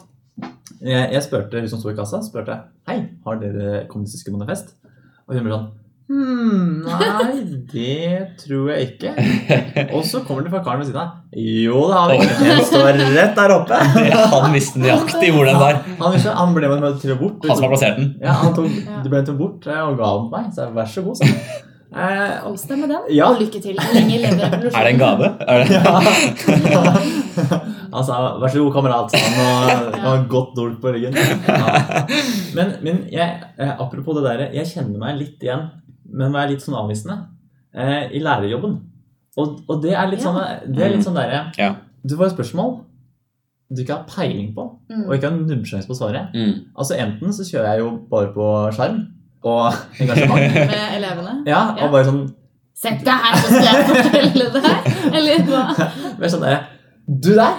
jeg, jeg spurte hun som sto i kassa, spurte jeg, hei, har dere kommunistiske manifest. Og hun ble sånn Hm, nei, det tror jeg ikke. Og så kommer det fra karen ved siden av. Jo, det har vi. Den står rett der oppe.
Han visste nøyaktig hvor den var.
Han, visste, han ble med meg til å bort.
Han som har plassert den.
Ja, han tok,
Ja.
Du ble med til å bort eh, og ga den til meg, så jeg, vær så god. sa han. Eh,
Kos deg med den.
Ja.
Og lykke til. Lenge leve revolusjonen.
Er det en gave? Er det?
han sa 'vær så god, kamerat', sa han, og var godt dolk på ryggen. Ja. Men, men jeg, eh, apropos det der, jeg kjenner meg litt igjen, men var litt sånn avvisende, eh, i lærerjobben. Og, og det er litt sånn, det er litt sånn derre
Ja.
Du får et spørsmål du ikke har peiling på,
Mm.
og ikke har nubbesjanse på å svare.
Mm.
Altså Enten så kjører jeg jo bare på skjerm og engasjement.
Med elevene.
Ja,
Ja.
og bare sånn,
Sett deg her, så skal jeg fortelle det her. Eller hva?
bare sånn der, Du der!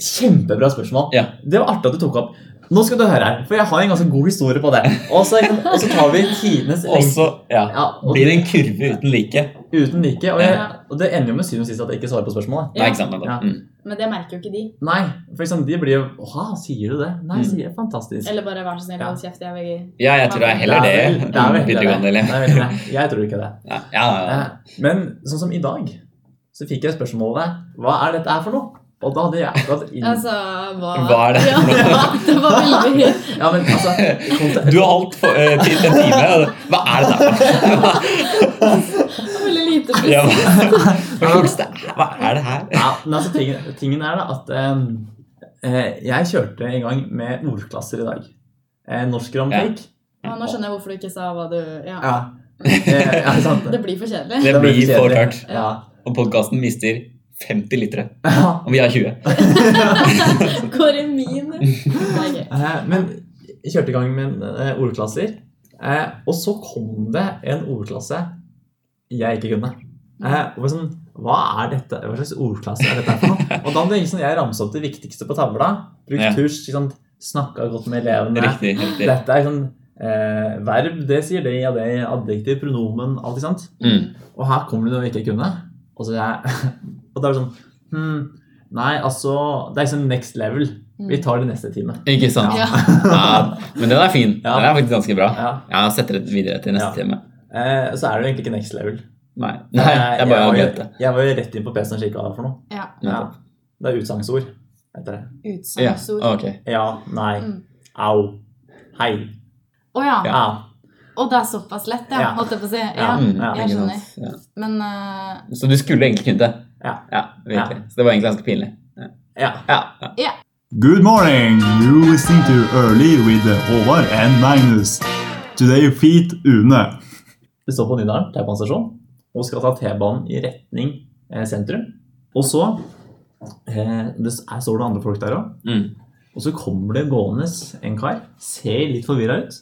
Kjempebra spørsmål.
Ja.
Det var artig at du tok opp. Nå skal du høre her, for jeg har en ganske god historie på det. Og så, liksom, og så tar vi tidenes
Og så ja,
ja, og,
blir det en kurve uten like.
uten like. Og, jeg,
Ja.
og det ender jo med syvende og sist at jeg ikke svarer på spørsmålet.
Nei, ikke sant?
Ja.
nettopp. Mm.
Men det merker jo ikke de.
Nei, for liksom, de blir jo Åha, sier du det? Nei,
Mm.
sier jeg. Fantastisk.
Eller bare vær så snill, hold kjeft. Jeg vil
Ja, jeg tror det er heller det.
er vel- det er vel-
Videregående
det
eller
er vel det. Jeg tror ikke det.
Ja, ja, ja.
Eh, Men sånn som i dag, så fikk jeg spørsmålet Hva er dette her for noe? Og da hadde jeg akkurat inn...
Altså, hva
Hva er det?
Ja, det var veldig
Ja, men altså konte-
Du har holdt for, eh, til en time. og- Hva er det der
veldig lite
for ja,
pris.
hva, hva slags det er- hva er det her?
ja, men altså, tingen, tingen er da at eh, eh, jeg kjørte i gang med ordklasser i dag. Eh, norsk grammatikk.
Ja, nå skjønner jeg hvorfor du ikke sa hva du Ja.
Ja. Eh, ja, sant.
Det blir for kjedelig.
Det
ble
blir for
kjedelig.
tørt.
Ja.
Og podkasten mister 50 liter.
Ja.
Og vi har 20.
Går i min Nei, gøy.
Eh, Men jeg kjørte i gang med eh, ordklasser, eh, og så kom det en ordklasse jeg ikke kunne. Eh, og var sånn, hva er dette? Hva slags ordklasse er dette her for noe? Og da hadde jeg, liksom, jeg ramset opp det viktigste på tavla, brukt
Ja.
kurs, ikke sant, snakket godt med elevene.
Riktig. riktig.
Dette er sånn, eh, verb, det sier det, ja det, adjektiv, pronomen, alt ikke sant?
Mm.
Og her kommer det noe jeg ikke kunne. Og, så jeg, og da er det sånn hmm, Nei, altså Det er liksom next level.
Mm.
Vi tar det neste time.
Ikke sant?
Ja.
Ja, men den er fin.
Ja.
Den er faktisk ganske bra.
Ja.
Jeg setter det videre til neste
Ja.
time.
Eh, så er det jo egentlig ikke next level.
Nei, Nei
Eh,
jeg bare har
var jo-
glemt det.
jeg var jo rett inn på PC-en og kikka for noe.
Ja.
Ja. Det er utsagnsord, heter det.
Ja,
Utsagnsord. Å ja.
ok.
Ja, nei,
Mm.
au, hei,
Ja.
au.
Og det er såpass lett, ja,
Ja.
holdt jeg på å si. Ja.
Ja.
Mm,
jeg
ikke
skjønner.
sant. Ja.
Men eh,
Så du skulle egentlig kunne det?
Ja.
ja virkelig. Så det var egentlig ganske pinlig. Ja.
Ja.
Ja. ja.
Good morning! You listening to Early with Håvard and Magnus. Today feet Une.
Vi står på Nydalen T-banestasjon og skal ta T-banen i retning eh, sentrum. Og så eh, det s- her står det andre folk der òg.
Mm.
Og så kommer det gående en kar, ser litt forvirra ut.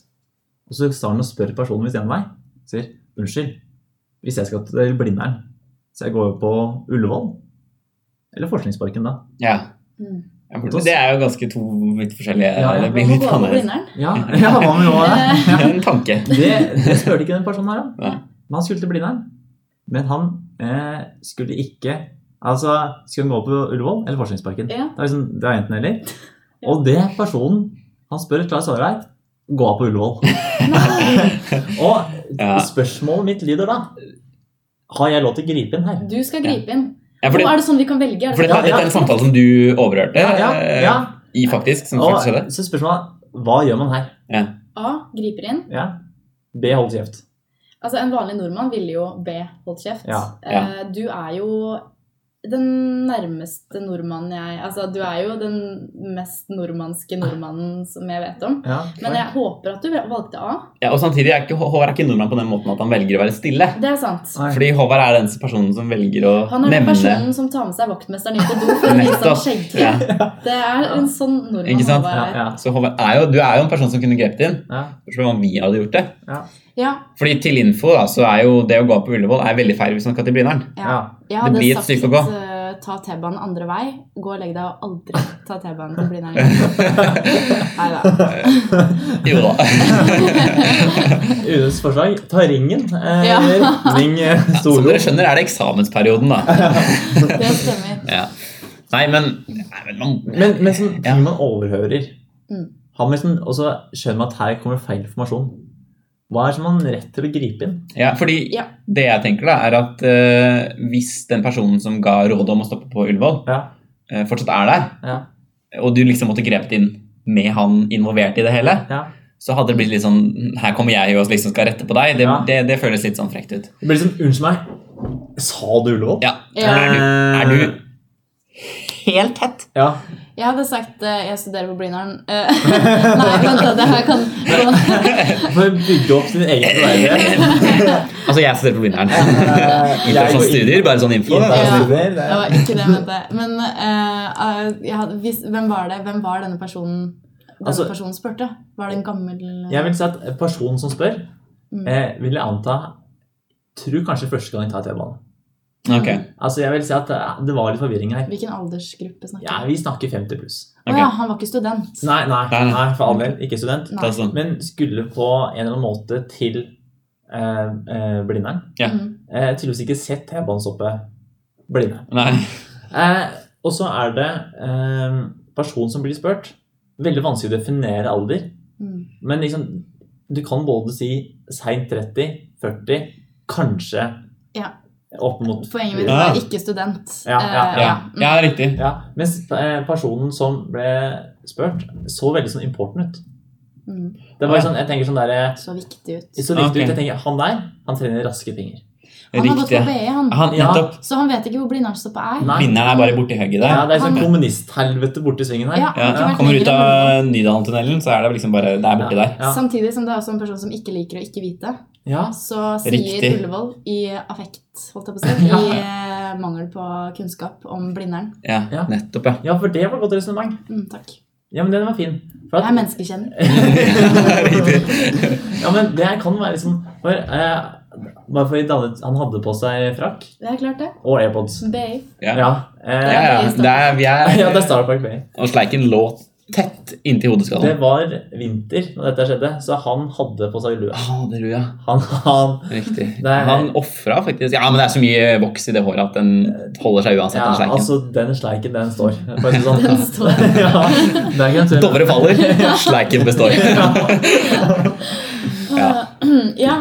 Og så står han og spør personen ved siden av meg. Sier 'Unnskyld, hvis jeg skal til Blindern, så jeg går jo på Ullevål?' Eller Forskningsparken, da.
ja.
mm.
Ja, for Det er jo ganske to vidt forskjellige
Ja, ja.
Det blir litt
Hva med
annerledes.
Blindern?
Ja, ja hva med nå?
Eh,
Det er En tanke.
Det, det spurte ikke den personen her om.
Nei.
Men han skulle til Blindern. Men han eh, skulle ikke Altså, skulle han gå på Ullevål eller Forskningsparken?
Eh, Ja.
Det er liksom, det er enten eller. Og det personen han spør, Klaus Hårveit, gå av på Ullevål.
Nei,
Og
Ja.
spørsmålet mitt lyder da Har jeg lov til å gripe inn her?
du skal gripe inn.
Ja, for
Nå
det,
er det sånn vi kan velge. er
for
det
dette,
Ja, ja.
dette er en samtale som du overhørte
ja,
eh,
ja.
i, faktisk. Som
Og
faktisk skjedde.
så spørsmålet hva gjør man her?
ikke? A. Griper inn.
Ja. B. Hold kjeft.
Altså, En vanlig nordmann ville jo B. Hold kjeft.
Ja,
ja.
Eh, Du er jo den nærmeste nordmannen jeg Altså, du er jo den mest nordmannske nordmannen som jeg vet om.
Ja.
Men jeg håper at du valgte A.
Ja, og samtidig er ikke, Håvard er ikke nordmann på den måten at han velger å være stille.
Det er sant.
Nei.
Fordi Håvard er den personen som velger å
Han er den
nevne
personen som tar med seg vaktmesteren inn på do for å vise han
Nettopp.
skjegger.
Ja.
Det er en sånn nordmann
Ikke sant?
han
Ja,
var.
ja,
Så Håvard er jo, du er jo en person som kunne grepet inn.
ja.
Spørs om vi hadde gjort det.
Ja,
Fordi til info da, så er jo det å gå på Ullevål er veldig feil hvis man skal til Blindern.
ja.
jeg
Det
hadde
blir et
sagt
stykke å gå.
eh, ta T-banen andre vei, gå og legg deg og aldri ta T-banen til Blindern igjen. Nei da.
Jo da.
Unes forslag ta ringen. Eh,
Ja.
Ring eh,
Som
Storo.
dere skjønner, er det eksamensperioden, da.
Det stemmer.
Ja. Nei, men, nei, men man,
Men, men sånn
Ja.
ting man overhører
Mm.
Har man liksom, Og så skjønner man at her kommer feil informasjon. Hva er det som man har rett til å gripe inn?
ja, fordi
Ja.
det jeg tenker, da, er at eh, hvis den personen som ga rådet om å stoppe på Ullevål,
Ja.
eh, fortsatt er der,
Ja.
og du liksom måtte grepet inn med han involvert i det hele,
Ja.
så hadde det blitt litt sånn Her kommer jeg og liksom skal rette på deg. Det,
Ja.
det, det føles litt sånn frekt ut.
Det blir liksom Unnskyld meg, sa du Ullevål?
Ja.
Ja.
Er, du, er du helt tett?
Ja.
Jeg hadde sagt eh, jeg studerer på Blindern. Eh, Nei, vent da, det her kan
For å bygge opp sin egen troverdighet.
Altså, jeg studerer på Blindern. Internasjonale studier, bare sånn info.
Ja.
Ja.
studier, det-
Det var ikke det jeg mente. Men eh, eh, jeg hadde, hvis, hvem var det? Hvem var denne personen denne
Altså-
personen spurte? Var det en gammel
Jeg vil si at personen som spør,
Mm.
eh, vil jeg anta Tror kanskje første gang jeg tar T-banen.
Ok.
Altså, jeg vil si at det- det var litt forvirring her.
Hvilken aldersgruppe snakker
Ja, vi snakker 50 pluss.
Å
Ok.
ja, han var ikke student.
Nei, nei,
Nei, nei.
nei for all del. Ikke student.
Det er sånn.
Men skulle på en eller annen måte til eh, eh, Blindern.
Ja.
Mm.
Eh, tydeligvis ikke sett T-banestoppet Blindern.
Nei.
Eh, og så er det eh, personen som blir spurt. Veldig vanskelig å definere alder.
Mm.
Men liksom, du kan både si seint 30, 40, kanskje
Ja.
opp mot
Poenget mitt
Ja.
var ikke student.
Ja, ja,
Eh,
Ja, ja riktig.
ja, Mens eh, personen som ble spurt, så veldig sånn important ut.
Mm. Mm.
Det var sånn, jeg tenker sånn derre
Så viktig ut.
Så viktig
Ok.
ut. Jeg tenker, Han der, han trener raske penger.
Han har gått
Riktig.
på BE, han.
Han,
Ja.
nettopp.
Så han vet ikke hvor Blindernstoppet er.
Nei.
Vinneren er bare borti hugget
Ja,
der.
Det er sånn
Han-
kommunisthelvete borti svingen her.
Ja, han har ikke
Ja,
vært
kommer
lenger
ut
enn Blindern.
av Nydalen-tunnelen, så er det liksom bare Det er borti der.
Ja.
Samtidig som det er også en person som ikke liker å ikke vite.
Ja.
Så sier
Riktig.
Ullevål i affekt, holdt jeg på å si,
Ja.
i eh, mangel på kunnskap om Blindern.
Ja,
Ja.
nettopp, ja.
ja, for det var et godt resonnement.
Mm, takk.
Ja, men den var fin. For
Jeg
at,
er menneskekjenner.
ja, men det kan være liksom for, eh, Bare fordi Danne- han hadde på seg frakk
Det er klart, det.
og AirPods.
BI.
Ja.
Ja. eh,
Ja, ja. Det er, vi
ja, det er
er
Star Park Bay.
Og Sleiken låt tett inntil
Det
hodeskallen.
var vinter når dette skjedde, så han hadde på seg lue.
Ah, det tror jeg.
Han, han,
Riktig.
Det er-
Han ofra faktisk Ja, men det er så mye voks i det håret at den holder seg uansett,
ja,
den sleiken.
altså, den sleiken, den står. For å si det sånn.
Den står.
ja, det er ikke en tvil.
Dovre faller, sleiken består. Ja.
Mm, ja,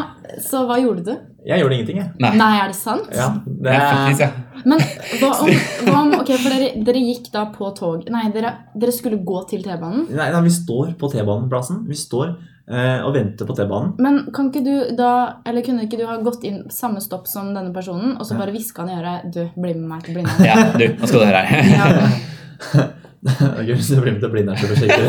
så hva gjorde du?
Jeg gjorde ingenting, jeg.
Nei.
Nei, er det sant?
Ja, det
Ja, faktisk, ja.
Men hva om, hva om Ok, for dere, dere gikk da på tog Nei, dere, dere skulle gå til T-banen.
Nei, nei, vi står på T-baneplassen. Vi står eh, og venter på T-banen.
Men kan ikke du da Eller kunne ikke du ha gått inn samme stopp som denne personen, og så
Ja.
bare hviska han i øret 'Du, bli med meg til Blindern'.
ja, du, nå skal du høre her.
Ja.
Jeg kunne så bli med til Blindern for å sjekke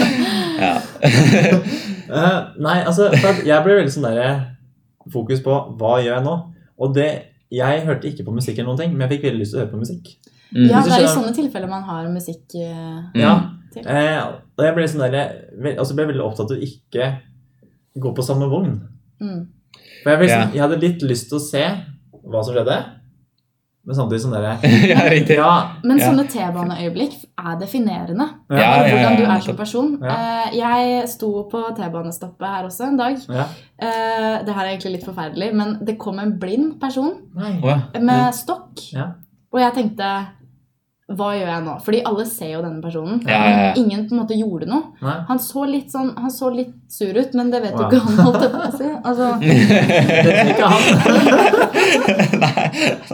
det mitt.
Ja.
Eh, nei, altså, for at jeg ble veldig sånn der fokus på hva gjør jeg nå? Og det, jeg hørte ikke på musikk eller noen ting, men jeg fikk veldig lyst til å høre på musikk.
Mm.
ja,
Hvis du
det er i
skjønner-
sånne tilfeller man har musikk eh,
Mm.
Ja.
Til.
Eh, og jeg ble, sånn der, vel- altså ble veldig opptatt av å ikke gå på samme vogn.
mm.
For jeg, ble,
Ja.
sånn, jeg hadde litt lyst til å se hva som skjedde, men samtidig sånn derre
ja, riktig.
ja,
Men
Ja.
sånne T-baneøyeblikk er definerende.
Ja,
for
ja,
hvordan du
ja,
er som person. Eh, Jeg sto på T-banestoppet her også en dag.
ja.
Eh, Det her er egentlig litt forferdelig, men det kom en blind person
Nei.
Å, ja.
med stokk.
Ja.
Og jeg tenkte hva gjør jeg nå? Fordi alle ser jo denne personen.
Ja, ja, ja.
Men ingen på en måte gjorde noe.
Nei.
Han så litt, sånn, han så litt sur ut, men det vet jo
Wow.
ikke han. holdt jeg på å si. Altså,
Det er ikke han.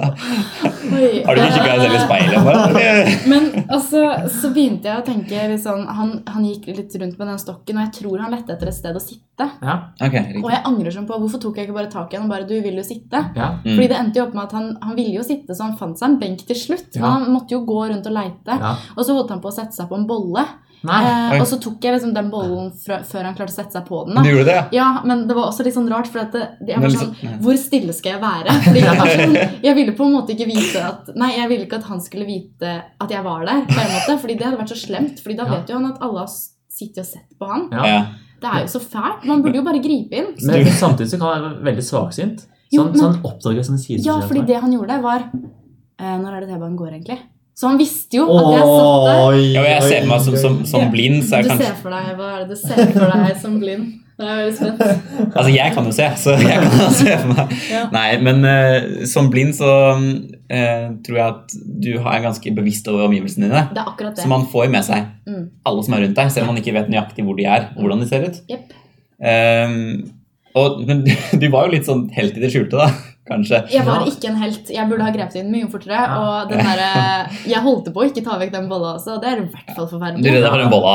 oi.
Har du ikke kikka deg selv i speilet? Bare?
Men altså, så begynte jeg å tenke litt sånn han, han gikk litt rundt med den stokken, og jeg tror han lette etter et sted å sitte.
Ja,
Ok,
Og
riktig.
jeg angrer sånn på hvorfor tok jeg ikke bare tak i han og bare Du vil jo sitte.
ja.
Mm.
Fordi det endte jo opp med at han, han ville jo sitte, så han fant seg en benk til slutt. Men
Ja.
han måtte jo gå rundt og leite.
ja.
Og så holdt han på å sette seg på en bolle.
Nei.
Ah, oi.
Eh, og så tok jeg liksom den bollen fra, før han klarte å sette seg på den.
Du
Da.
gjorde det, ja?
Ja, Men det var også litt sånn rart, for at det, det jeg
Men
var
liksom-
sånn Hvor stille skal jeg være? Fordi jeg, var sånn, jeg ville på en måte ikke vite at Nei, jeg ville ikke at han skulle vite at jeg var der. på en måte, Fordi det hadde vært så slemt. Fordi da
Ja.
vet jo han at alle har s- sittet og sett på han.
Ja.
Ja.
Det er jo så fælt. Man burde jo bare gripe inn.
Men samtidig så kan han være veldig svaksynt. Sånn, Så
Jo,
han,
men-
så han oppdager sånne sider.
Ja, fordi det han gjorde, var eh, Når er det T-banen går, egentlig? Så han visste jo at jeg satt der.
Oi,
Ja, men jeg ser
oi,
meg som, som, som
Ja.
blind, så jeg
Du
kan
ser for deg, Hva er det du ser for deg som blind? Nå er jeg veldig spent.
Altså, jeg kan jo se, så jeg kan jo se for meg.
Ja.
Nei, men eh, som blind så eh, tror jeg at du har- er ganske bevisst over omgivelsene dine.
Det er akkurat
Så
det.
man får jo med seg
Mm.
alle som er rundt deg, selv om man ikke vet nøyaktig hvor de er og hvordan de ser ut.
Jepp.
Ehm, og, men du var jo litt sånn helt i det skjulte, da. Kanskje.
Jeg var
Ja.
ikke en helt. Jeg burde ha grepet inn mye fortere.
Ja.
Og den der, jeg holdt på å ikke ta vekk den bolla også. Det er i hvert fall
Du redda
forferdelig.
for den bolla.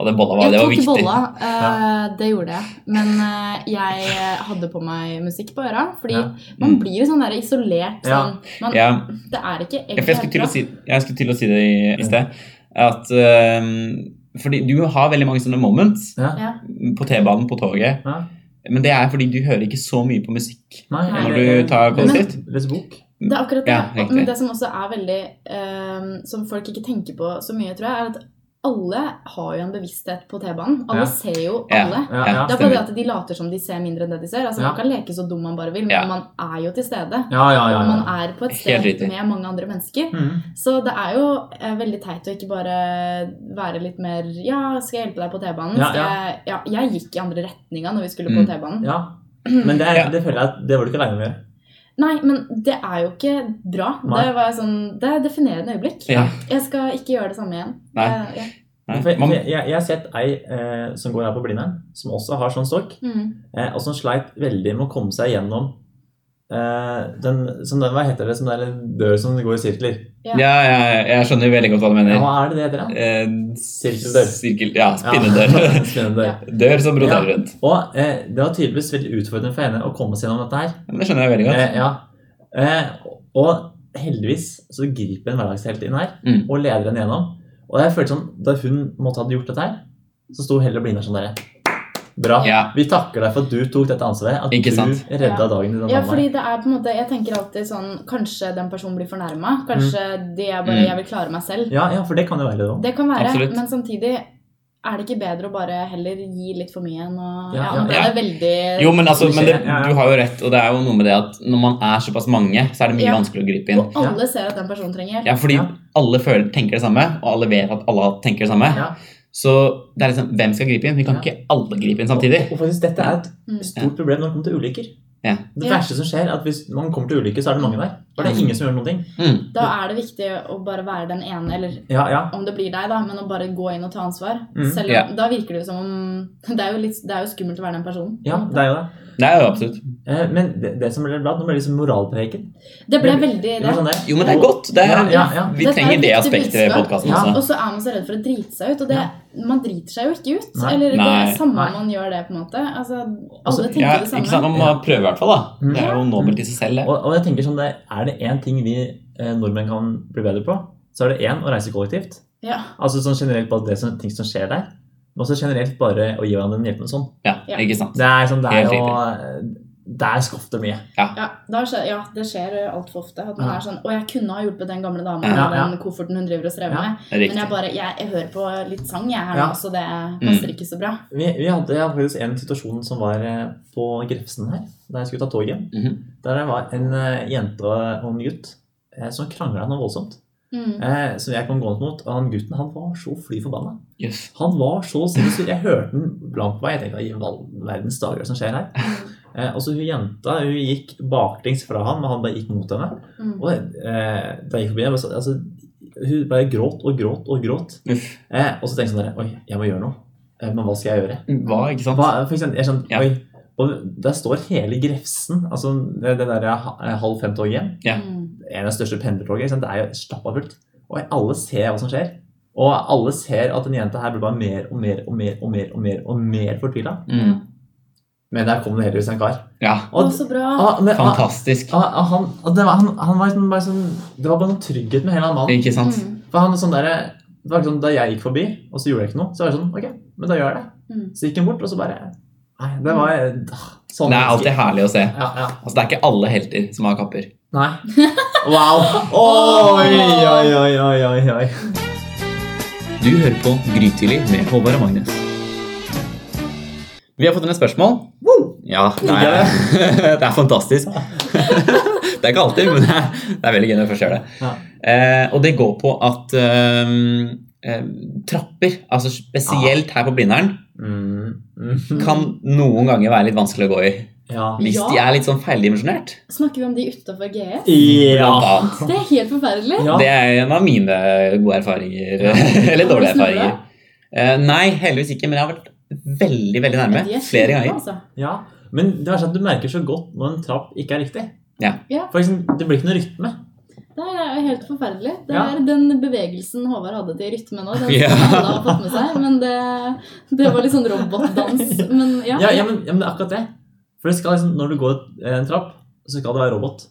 Og den bolla var,
Jeg
det var
tok
viktig.
bolla, eh, det gjorde jeg. Men eh, jeg hadde på meg musikk på øra. Fordi
Ja.
man
Mm.
blir jo sånn der isolert. Sånn.
Ja.
Man,
Ja,
Det er ikke
ja, for jeg skulle til å
bra.
si, jeg skulle til å si det i, i sted. At ehm, Fordi du har veldig mange sånne moments
Ja.
Ja.
på T-banen, på toget.
Ja.
Men det er fordi du hører ikke så mye på musikk.
Nei,
Når
du tar kollektivt.
les- Les bok.
Det er akkurat det.
Ja, riktig.
Men det som også er veldig eh, Som folk ikke tenker på så mye, tror jeg, er at alle har jo en bevissthet på T-banen. Alle
Ja.
ser jo
Ja.
Ja,
alle.
Ja.
ja.
Det er bare
Stemmer.
det at de later som de ser mindre enn det de ser. Altså,
Ja.
Man kan leke så dum man bare vil, men
Ja.
man er jo til stede.
Ja, ja, ja.
Man
ja.
er på et
Helt
sted
riktig.
med mange andre mennesker.
Mm.
Så det er jo eh, veldig teit å ikke bare være litt mer Ja, skal jeg hjelpe deg på T-banen?
Ja,
Skal Jeg, ja, jeg gikk i andre retninga når vi skulle
Mm.
på T-banen.
ja. Men det, er- det føler jeg at det var du ikke aleine med å gjøre.
Nei, men det er jo ikke bra.
Nei.
Det, var sånn, det er et definerende øyeblikk.
Ja.
Jeg skal ikke gjøre det samme igjen.
Nei.
Eh, ja.
Nei,
For jeg,
man,
for jeg, jeg har sett ei eh, som går her på Blindern, som også har sånn stokk,
Mm.
eh, og som sleit veldig med å komme seg gjennom eh, den, som den, Hva heter det? Som det er en dør som går i sirkler.
ja, ja, jeg skjønner veldig godt hva du
Ja,
mener.
hva er det det heter? da?
Eh,
Sirkeldør.
Sirkel, ja,
Ja.
spinnedør.
Spinnedør.
Dør som roterer
Ja.
rundt.
Og eh, det var tydeligvis veldig utfordrende for henne å komme seg gjennom dette her.
Men Det skjønner jeg veldig godt.
Eh, ja. eh, og heldigvis så griper en hverdagshelt inn her
Mm.
og leder henne gjennom. Og jeg følte sånn, Da hun måtte ha gjort dette her, så sto heller Blindern sånn der. Bra.
Eh, Ja.
Vi takker deg for at du tok dette ansvaret. At
Ikke
du
sant?
redda
Ja.
dagen din.
Ja, fordi det er på en måte Jeg tenker alltid sånn Kanskje den personen blir fornærma. Kanskje de er bare
Mm.
'jeg vil klare meg selv'.
ja, ja, for det kan jo være det òg.
Det kan være,
Absolutt.
men samtidig er det ikke bedre å bare heller gi litt for mye enn å Ja,
Ja,
nå ble
ja.
det veldig
Jo, men, altså, men det,
Ja, ja.
du har jo rett, og det er jo noe med det at når man er såpass mange, så er det mye
Ja.
vanskeligere å gripe inn.
Og alle ser at den personen trenger hjelp.
Ja, fordi
Ja.
alle føler, tenker det samme, og alle vet at alle tenker det samme.
Ja.
Så det er liksom, hvem skal gripe inn? Vi kan
Ja.
ikke alle gripe inn samtidig.
Og, og faktisk, dette er et
Mm.
stort problem når det kommer til ulykker.
Ja.
Det
Ja.
verste som skjer, er at hvis man kommer til ulykke, så er det mange der. For det
Ja.
er ingen som gjør noen ting.
Mm.
Da er det viktig å bare være den ene, eller
Ja, ja.
om det blir deg, da, men å bare gå inn og ta ansvar.
Mm.
Selv om,
Ja.
Da virker det jo som om Det er jo, litt, det er jo skummelt å være den personen. på
ja
en måte.
det er jo det.
Det er jo absolutt.
Eh, Men det, det som ble blant, nå ble det liksom moralpreken.
Det ble
Det-
veldig
Det
det.
var sånn der.
Jo, men det er godt. Det er,
Ja, ja, ja.
Vi
Dette er
trenger
et
det
viktig
aspektet i
budskap.
podkasten
Ja.
også.
Og så er man så redd for å drite seg ut, og det, man driter seg jo ikke ut.
Nei.
Eller det
Nei.
er samme
Nei.
om man gjør det, på en måte. Altså, alle
Altså,
tenker
Ja,
det
ikke sant?
samme.
Man må prøve i hvert fall, da.
Mm.
Det er jo nobelt i seg selv. det.
Og, og jeg tenker sånn der, Er det én ting vi eh, nordmenn kan bli bedre på, så er det én å reise kollektivt.
Ja.
Altså sånn generelt bare det som, ting som skjer der. Men også generelt bare å gi hverandre en hjelpende sånn.
Ja,
Ja.
ikke sant.
Det er sånn, det
Helt
er jo Der skofter mye.
Ja, da skjer, ja, det skjer altfor ofte at man
Ja.
er sånn Og jeg kunne ha hjulpet den gamle dama
Ja,
med
ja.
den kofferten hun driver og strever
Ja.
med,
Det er
men jeg
Riktig.
bare jeg, jeg hører på litt sang, jeg, her
Ja. Mm.
nå, så det passer ikke så bra.
Vi, vi hadde, jeg hadde faktisk en situasjon som var eh, på Grefsen her, da jeg skulle ta toget.
Mhm.
Der det var en eh, jente og og en gutt eh, som krangla noe voldsomt.
Mm.
Eh, som jeg kom gående mot. Og han gutten han var så fly forbanna.
Jøss.
Han var så sinnssyk. Jeg hørte den blank på vei. Jeg tenkte i all verdens dager hva er det som skjer her.
Mm.
Eh, og så hun jenta hun gikk baklengs fra han, men han bare gikk mot henne.
Mm.
Og eh, da jeg gikk forbi, jeg bare, sa- altså, hun bare gråt og gråt og gråt.
Uff.
Eh, og så tenkte jeg sånn der, Oi, jeg må gjøre noe. Eh, men hva skal jeg gjøre?
Hva, ikke sant?
Hva, for eksempel, jeg skjønte,
Ja.
oi, og Der står hele Grefsen, altså det det der ha- eh, halv fem-toget igjen.
Ja.
Mm.
En av de største pendlertoget. ikke sant? Det er jo stappa fullt. Og alle ser hva som skjer. Og alle ser at den jenta her blir bare mer og mer og mer og mer og mer og mer fortvila.
Mm.
Men der kom det heldigvis en kar.
Ja,
Å,
Og,
så bra.
ah, men, ah,
fantastisk.
Ah, ah, han, ah, det var, han, han var liksom bare sånn Det var bare noen trygghet med hele han mannen.
Ikke sant?
Mm.
For han er sånn der, det var ikke sånn, Da jeg gikk forbi, og så gjorde jeg ikke noe, så var jeg sånn Ok, men da gjør jeg det.
Mm.
Så gikk han bort, og så bare Nei, det var ah, sånn
Det er alltid
menneske.
herlig å se.
ja, ja.
Altså, det er ikke alle helter som har kapper.
Nei. Wow. Oi, oi, oi, oi, oi, oi.
Du hører på Grytidlig med Håvard og Magnus. Vi har fått inn et spørsmål. Ja, det er, det er fantastisk. Det er ikke alltid, men det er, det er veldig gøy når jeg først gjør det.
Ja.
Eh, og det går på at ehm, eh, trapper, altså spesielt her på Blindern,
Mm, mm.
kan noen ganger være litt vanskelig å gå i.
Ja.
Hvis
Ja.
de er litt sånn feildimensjonert.
Snakker vi om de utafor GS?
blant
Ja.
annet.
Det er helt forferdelig.
Ja.
Det er en av mine gode erfaringer. Eller dårlige erfaringer. Eh, nei, heldigvis ikke, men jeg har vært veldig, veldig nærme
De er
flere
slitne,
ganger.
Altså.
ja. Men det er sånn at du merker så godt når en trapp ikke er riktig.
Ja.
Ja.
For eksempel, det blir ikke noe rytme.
Det er jo helt forferdelig. Det
Ja.
er den bevegelsen Håvard hadde til rytme nå. Den
Ja.
som alle har fått med seg, men det, det var litt sånn robotdans. Men ja.
Ja, ja, men, ja, men det er akkurat det. For det skal liksom, når du går eh, en trapp, så skal det være robot.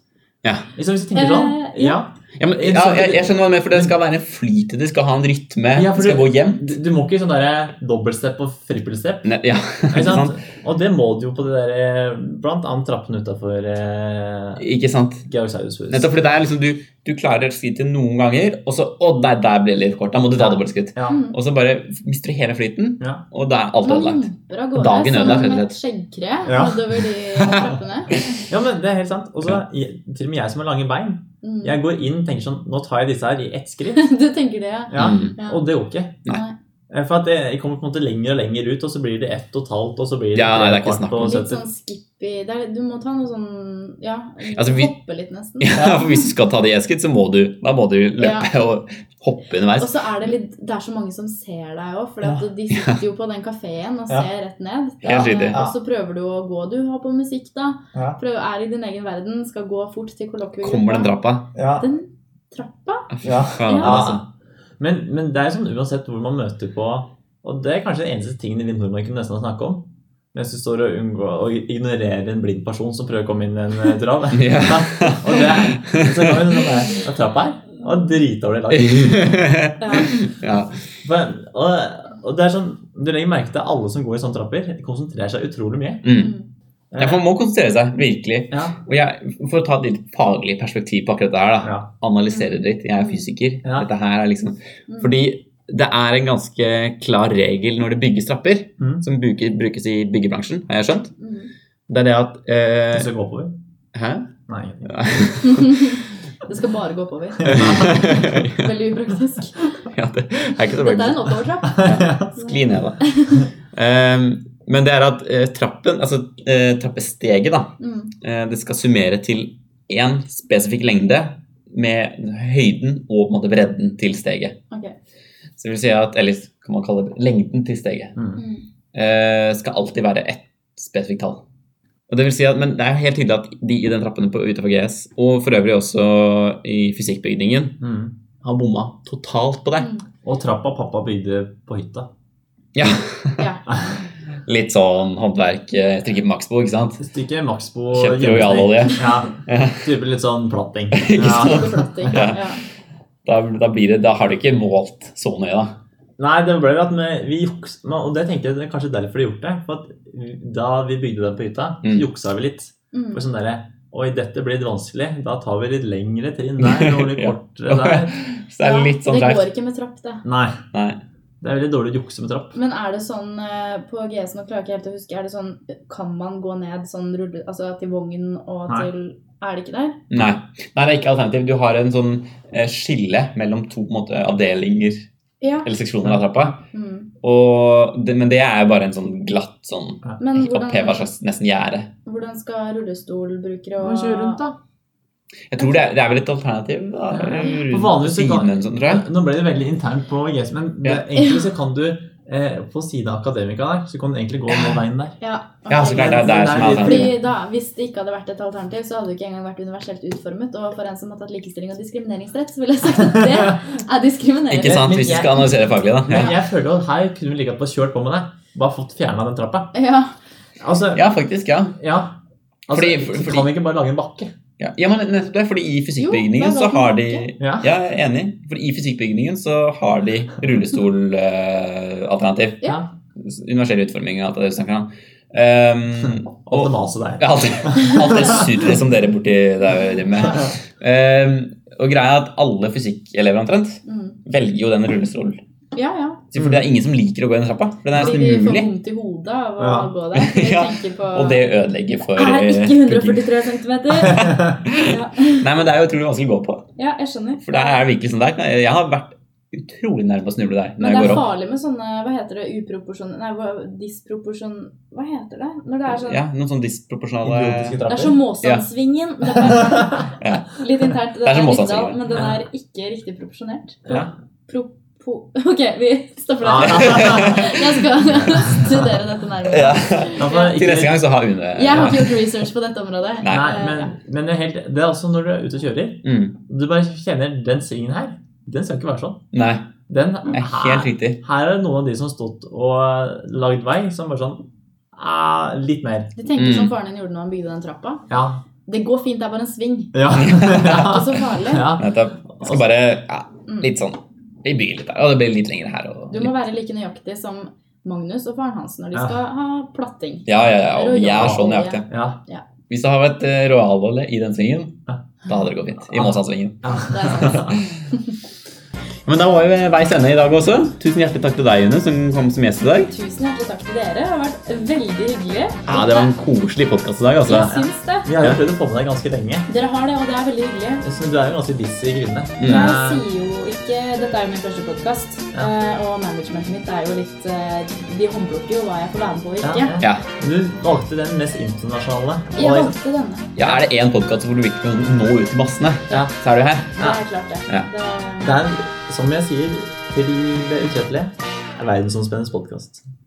Ja.
Liksom, hvis du tenker sånn,
Eh,
ja.
Ja, men, ja, jeg, jeg skjønner hva du mener, for det skal være en flyt i det, skal ha en rytme,
Ja, for
skal
du-
gå hjem.
Du, du må ikke sånn der dobbeltstep og frippelstep.
Ne, ja,
Ikke
ikke sant?
sant? Og det må du jo på det der, eh, blant annet trappen utenfor eh,
Ikke sant?
Georgsaushus.
Nettopp fordi det er liksom du, du klarer skrittet noen ganger, og så Å, der, der ble det litt kort. Da må du ta dobbeltskritt.
Ja.
Mm.
Og så bare mister du hele flyten,
Ja. Mm.
og da er alt
Man
ødelagt.
limper av gårde
Dagen
som
ødelagt, rett og
med
slett.
et Skjeggkre
Ja.
nedover de trappene.
ja, men det er helt sant. Og så, jeg- til og med jeg som har lange bein,
Mm.
jeg går inn og tenker sånn, nå tar jeg disse her i ett skritt.
Du tenker det, ja.
Ja,
Mm.
Ja.
Og det går ikke.
Nei.
Eh, For at det, jeg kommer på en måte lenger og lenger ut, og så blir det ett og et halvt, og så blir det
Ja, nei, det er
tre
ikke snakk
og
om.
et kvart,
Litt
og
sånn skippy det er, Du må ta noe sånn Ja,
Altså, vi-
hoppe litt, nesten.
Ja, for hvis du skal ta det i et skritt, så må du, da må du løpe og hoppe
Og
underveis.
så er det litt Det er så mange som ser deg òg, for
Ja.
de sitter jo på den kafeen og
Ja.
ser rett ned.
Helt riktig.
Og så prøver du å gå. Du har på musikk, da.
Ja.
Prøver, er i din egen verden, skal gå fort til kollokviet.
Kommer den trappa?
Ja,
Den trappa?
ja.
Faen,
Ja.
altså.
Men, men det er sånn uansett hvor man møter på Og det er kanskje den eneste tingen vi nordmenn kunne nesten snakke om. Mens du står og unngår å ignorere en blind person som prøver å komme inn i en eh, trav.
Ja.
og det er så kommer det sånn der, «Det er trapp her. Og dritdårlig lag.
ja.
For- Og, og det er sånn, du legger merke til alle som går i sånne trapper, de konsentrerer seg utrolig mye.
Mm.
Mm.
Ja, for man må konsentrere seg, virkelig.
Ja,
Og jeg, for å ta et litt faglig perspektiv på akkurat det her, da.
ja,
analysere det litt. Jeg er fysiker.
Ja.
Dette her er liksom
Mm.
Fordi det er en ganske klar regel når det bygges trapper,
Mm.
som bruker, brukes i byggebransjen, har jeg skjønt.
Mm.
Det er det at eh,
Hvis jeg går oppover?
Hæ?
Nei.
Det skal bare gå oppover.
ja,
Veldig upraktisk.
det er ikke så
Dette er en
praktisk.
oppovertrapp.
Skli ned, da. Um, men det er at eh, trappen, altså eh, trappesteget, da,
Mm.
eh, det skal summere til én spesifikk lengde med høyden og på en måte bredden til steget.
Ok.
Så det vil si at, Eller kan man kalle det lengden til steget.
Mm.
Mm.
eh, skal alltid være ett spesifikt tall. Og det vil si at, men det er helt tydelig at de i den trappen på utenfor GS, og for øvrig også i fysikkbygningen,
Mm.
har bomma totalt på det.
Mm.
Og trappa pappa bygde på hytta.
Ja.
Ja.
Litt sånn håndverk, eh, strikke på Maxbo, ikke sant?
Stykke Maxbo
Kjøpte
hjemmesnekk.
rojalolje.
Ja. Type litt sånn platting.
Ikke
Ja.
sant?
Superflotting.
Ja.
Ja.
Da, da, blir det, da har du ikke målt så nøye, da.
Nei, det ble at vi, vi juks- men- Og det tenkte jeg det er kanskje derfor de gjorde det. For at da vi bygde den på hytta,
Mm.
juksa vi litt.
Mm.
For sånn derre Oi, dette blir litt vanskelig. Da tar vi litt lengre trinn der og litt
Ja.
kortere der.
Så det er
Ja,
litt sånn
Det
skjevt.
går ikke med trapp, det.
Nei.
Nei.
Det er veldig dårlig å jukse med trapp.
Men er det sånn eh, på GS, nå klarer jeg ikke helt å huske, er det sånn Kan man gå ned sånn rulle, altså til vogn og
Nei.
til Er det ikke der?
Nei.
Mm.
Nei, det er ikke alternativ. Du har en sånn eh, skille mellom to på en måte, avdelinger
Ja.
eller seksjoner av trappa.
Mm.
Og det, men det er bare en sånn glatt sånn
Men
oppheva
hvordan,
slags nesten gjerde.
hvordan skal rullestolbrukere
Du
og
må kjøre rundt, da.
Jeg tror det er, det er vel et alternativ. Da,
På
rundt
vanligvis så kan-
siden eller sånn, tror jeg.
Nå ble det veldig internt på GS, men det,
Ja.
egentlig så kan du eh, på siden av Akademika der, så kan du egentlig gå den veien der.
Ja,
Ja,
ok,
så klart. Det er
greit.
der som er alternativet.
Fordi da, Hvis det ikke hadde vært et alternativ, så hadde det ikke engang vært universelt utformet. Og for en som har tatt likestilling og diskrimineringsrett, så ville jeg sagt at det er diskriminering.
Ikke sant,
Men
hvis vi
jeg-
skal analysere faglig, da.
Men jeg føler at her kunne vi like godt bare kjørt på med det. Bare fått fjerna den trappa.
Ja,
Altså,
Ja,
ja.
ja faktisk. Ja.
Altså,
Fordi- for-
så
fordi-
kan vi ikke bare lage en bakke?
Ja, ja men nettopp det. Fordi i
Jo,
fysikkbygningen
det er
så
godt
har
å
de
tenke.
Ja.
Ja, jeg er enig. For i fysikkbygningen så har de rullestolalternativ.
Ja.
Universell utforming og alt det du snakker om. Um,
Og det maset der.
Ja, Alt alt det surret som liksom dere borti der driver med. Ehm, og greia er at alle fysikkelever omtrent
mm.
velger jo den rullestolen.
ja. ja.
Så For det er ingen som liker å gå i den trappa. For den er
Fordi
nesten
de får
umulig.
vondt i hodet av å
Ja.
gå der. Jeg
Ja,
tenker på
Og det ødelegger for
Er
eh,
ikke
pugging.
143 cm! Ja.
Nei, men det er jo utrolig vanskelig å gå på.
ja, jeg skjønner.
For det er virkelig sånn der. Jeg har vært utrolig nær på å snuble der når
Men
jeg
det er
går opp.
farlig med sånne hva heter det, uproporsjon... Nei, hva- disproporsjon... Hva heter det? Når det er sånn
Ja, noen sånn disproporsjonale
Idiotiske
Det er som
trapper.
Måsandsvingen. Det er
Ja.
bare- Litt internt, det
Det er som
er
Måsandsvingen.
Nittedal, men den er ikke riktig proporsjonert.
Ja.
Propo... Ok, vi stopper der.
Ja.
Jeg skal studere dette nærmere.
ja.
Altså,
Til neste
ikke,
gang så har Une
Jeg har ikke gjort research på dette området. Eh,
Nei.
nei, men, men jeg er helt, det er også når du er ute og kjører.
mm.
Du bare kjenner den svingen her. Den skal ikke være sånn.
Nei,
Den
det er
her,
helt riktig.
her er det noen av de som har stått og eh, lagd vei, som bare sånn ah, Litt mer.
Du tenker
Mm.
som faren din gjorde når han bygde den trappa.
Ja.
Det går fint, det er bare en sving.
Ja.
Ikke så farlig.
ja.
Nettopp. Skal bare ja,
Mm.
litt sånn Vi byr litt her, og det blir litt lengre her. Og
Du må være like nøyaktig som Magnus og faren hans når de
Ja.
skal ha platting.
Ja, ja, ja. Og jeg er så
Royal,
nøyaktig.
ja.
Hvis det har vært eh, royalolje i den svingen,
Ja.
da hadde det gått fint. I Måsandsvingen.
Det er sant.
Men da var vi veis ende i dag også. Tusen hjertelig takk til deg, Une, som kom som gjest i dag.
Tusen hjertelig takk til dere. Det har vært veldig hyggelig.
Ja, Det var en koselig podkast i dag, altså.
Jeg syns det.
Vi har jo
Ja.
prøvd å få med deg ganske lenge.
Dere har det, og det er veldig hyggelig.
Så du er jo en ganske busy grunne.
Mm.
Jeg
Eh,
sier jo ikke Dette er jo min første podkast,
Ja.
og managementet mitt er jo litt eh, De håndplukker jo hva jeg får være med på og
ja,
ikke.
Ja.
Du valgte den mest internasjonale.
Jeg
Og,
valgte denne.
ja, Er det én podkast hvor du virkelig kan nå ut til massene,
Ja.
så er du her.
Det er klart, det.
Ja.
det
det er, som jeg sier til det ukjøttelige, en verdensomspennende podkast.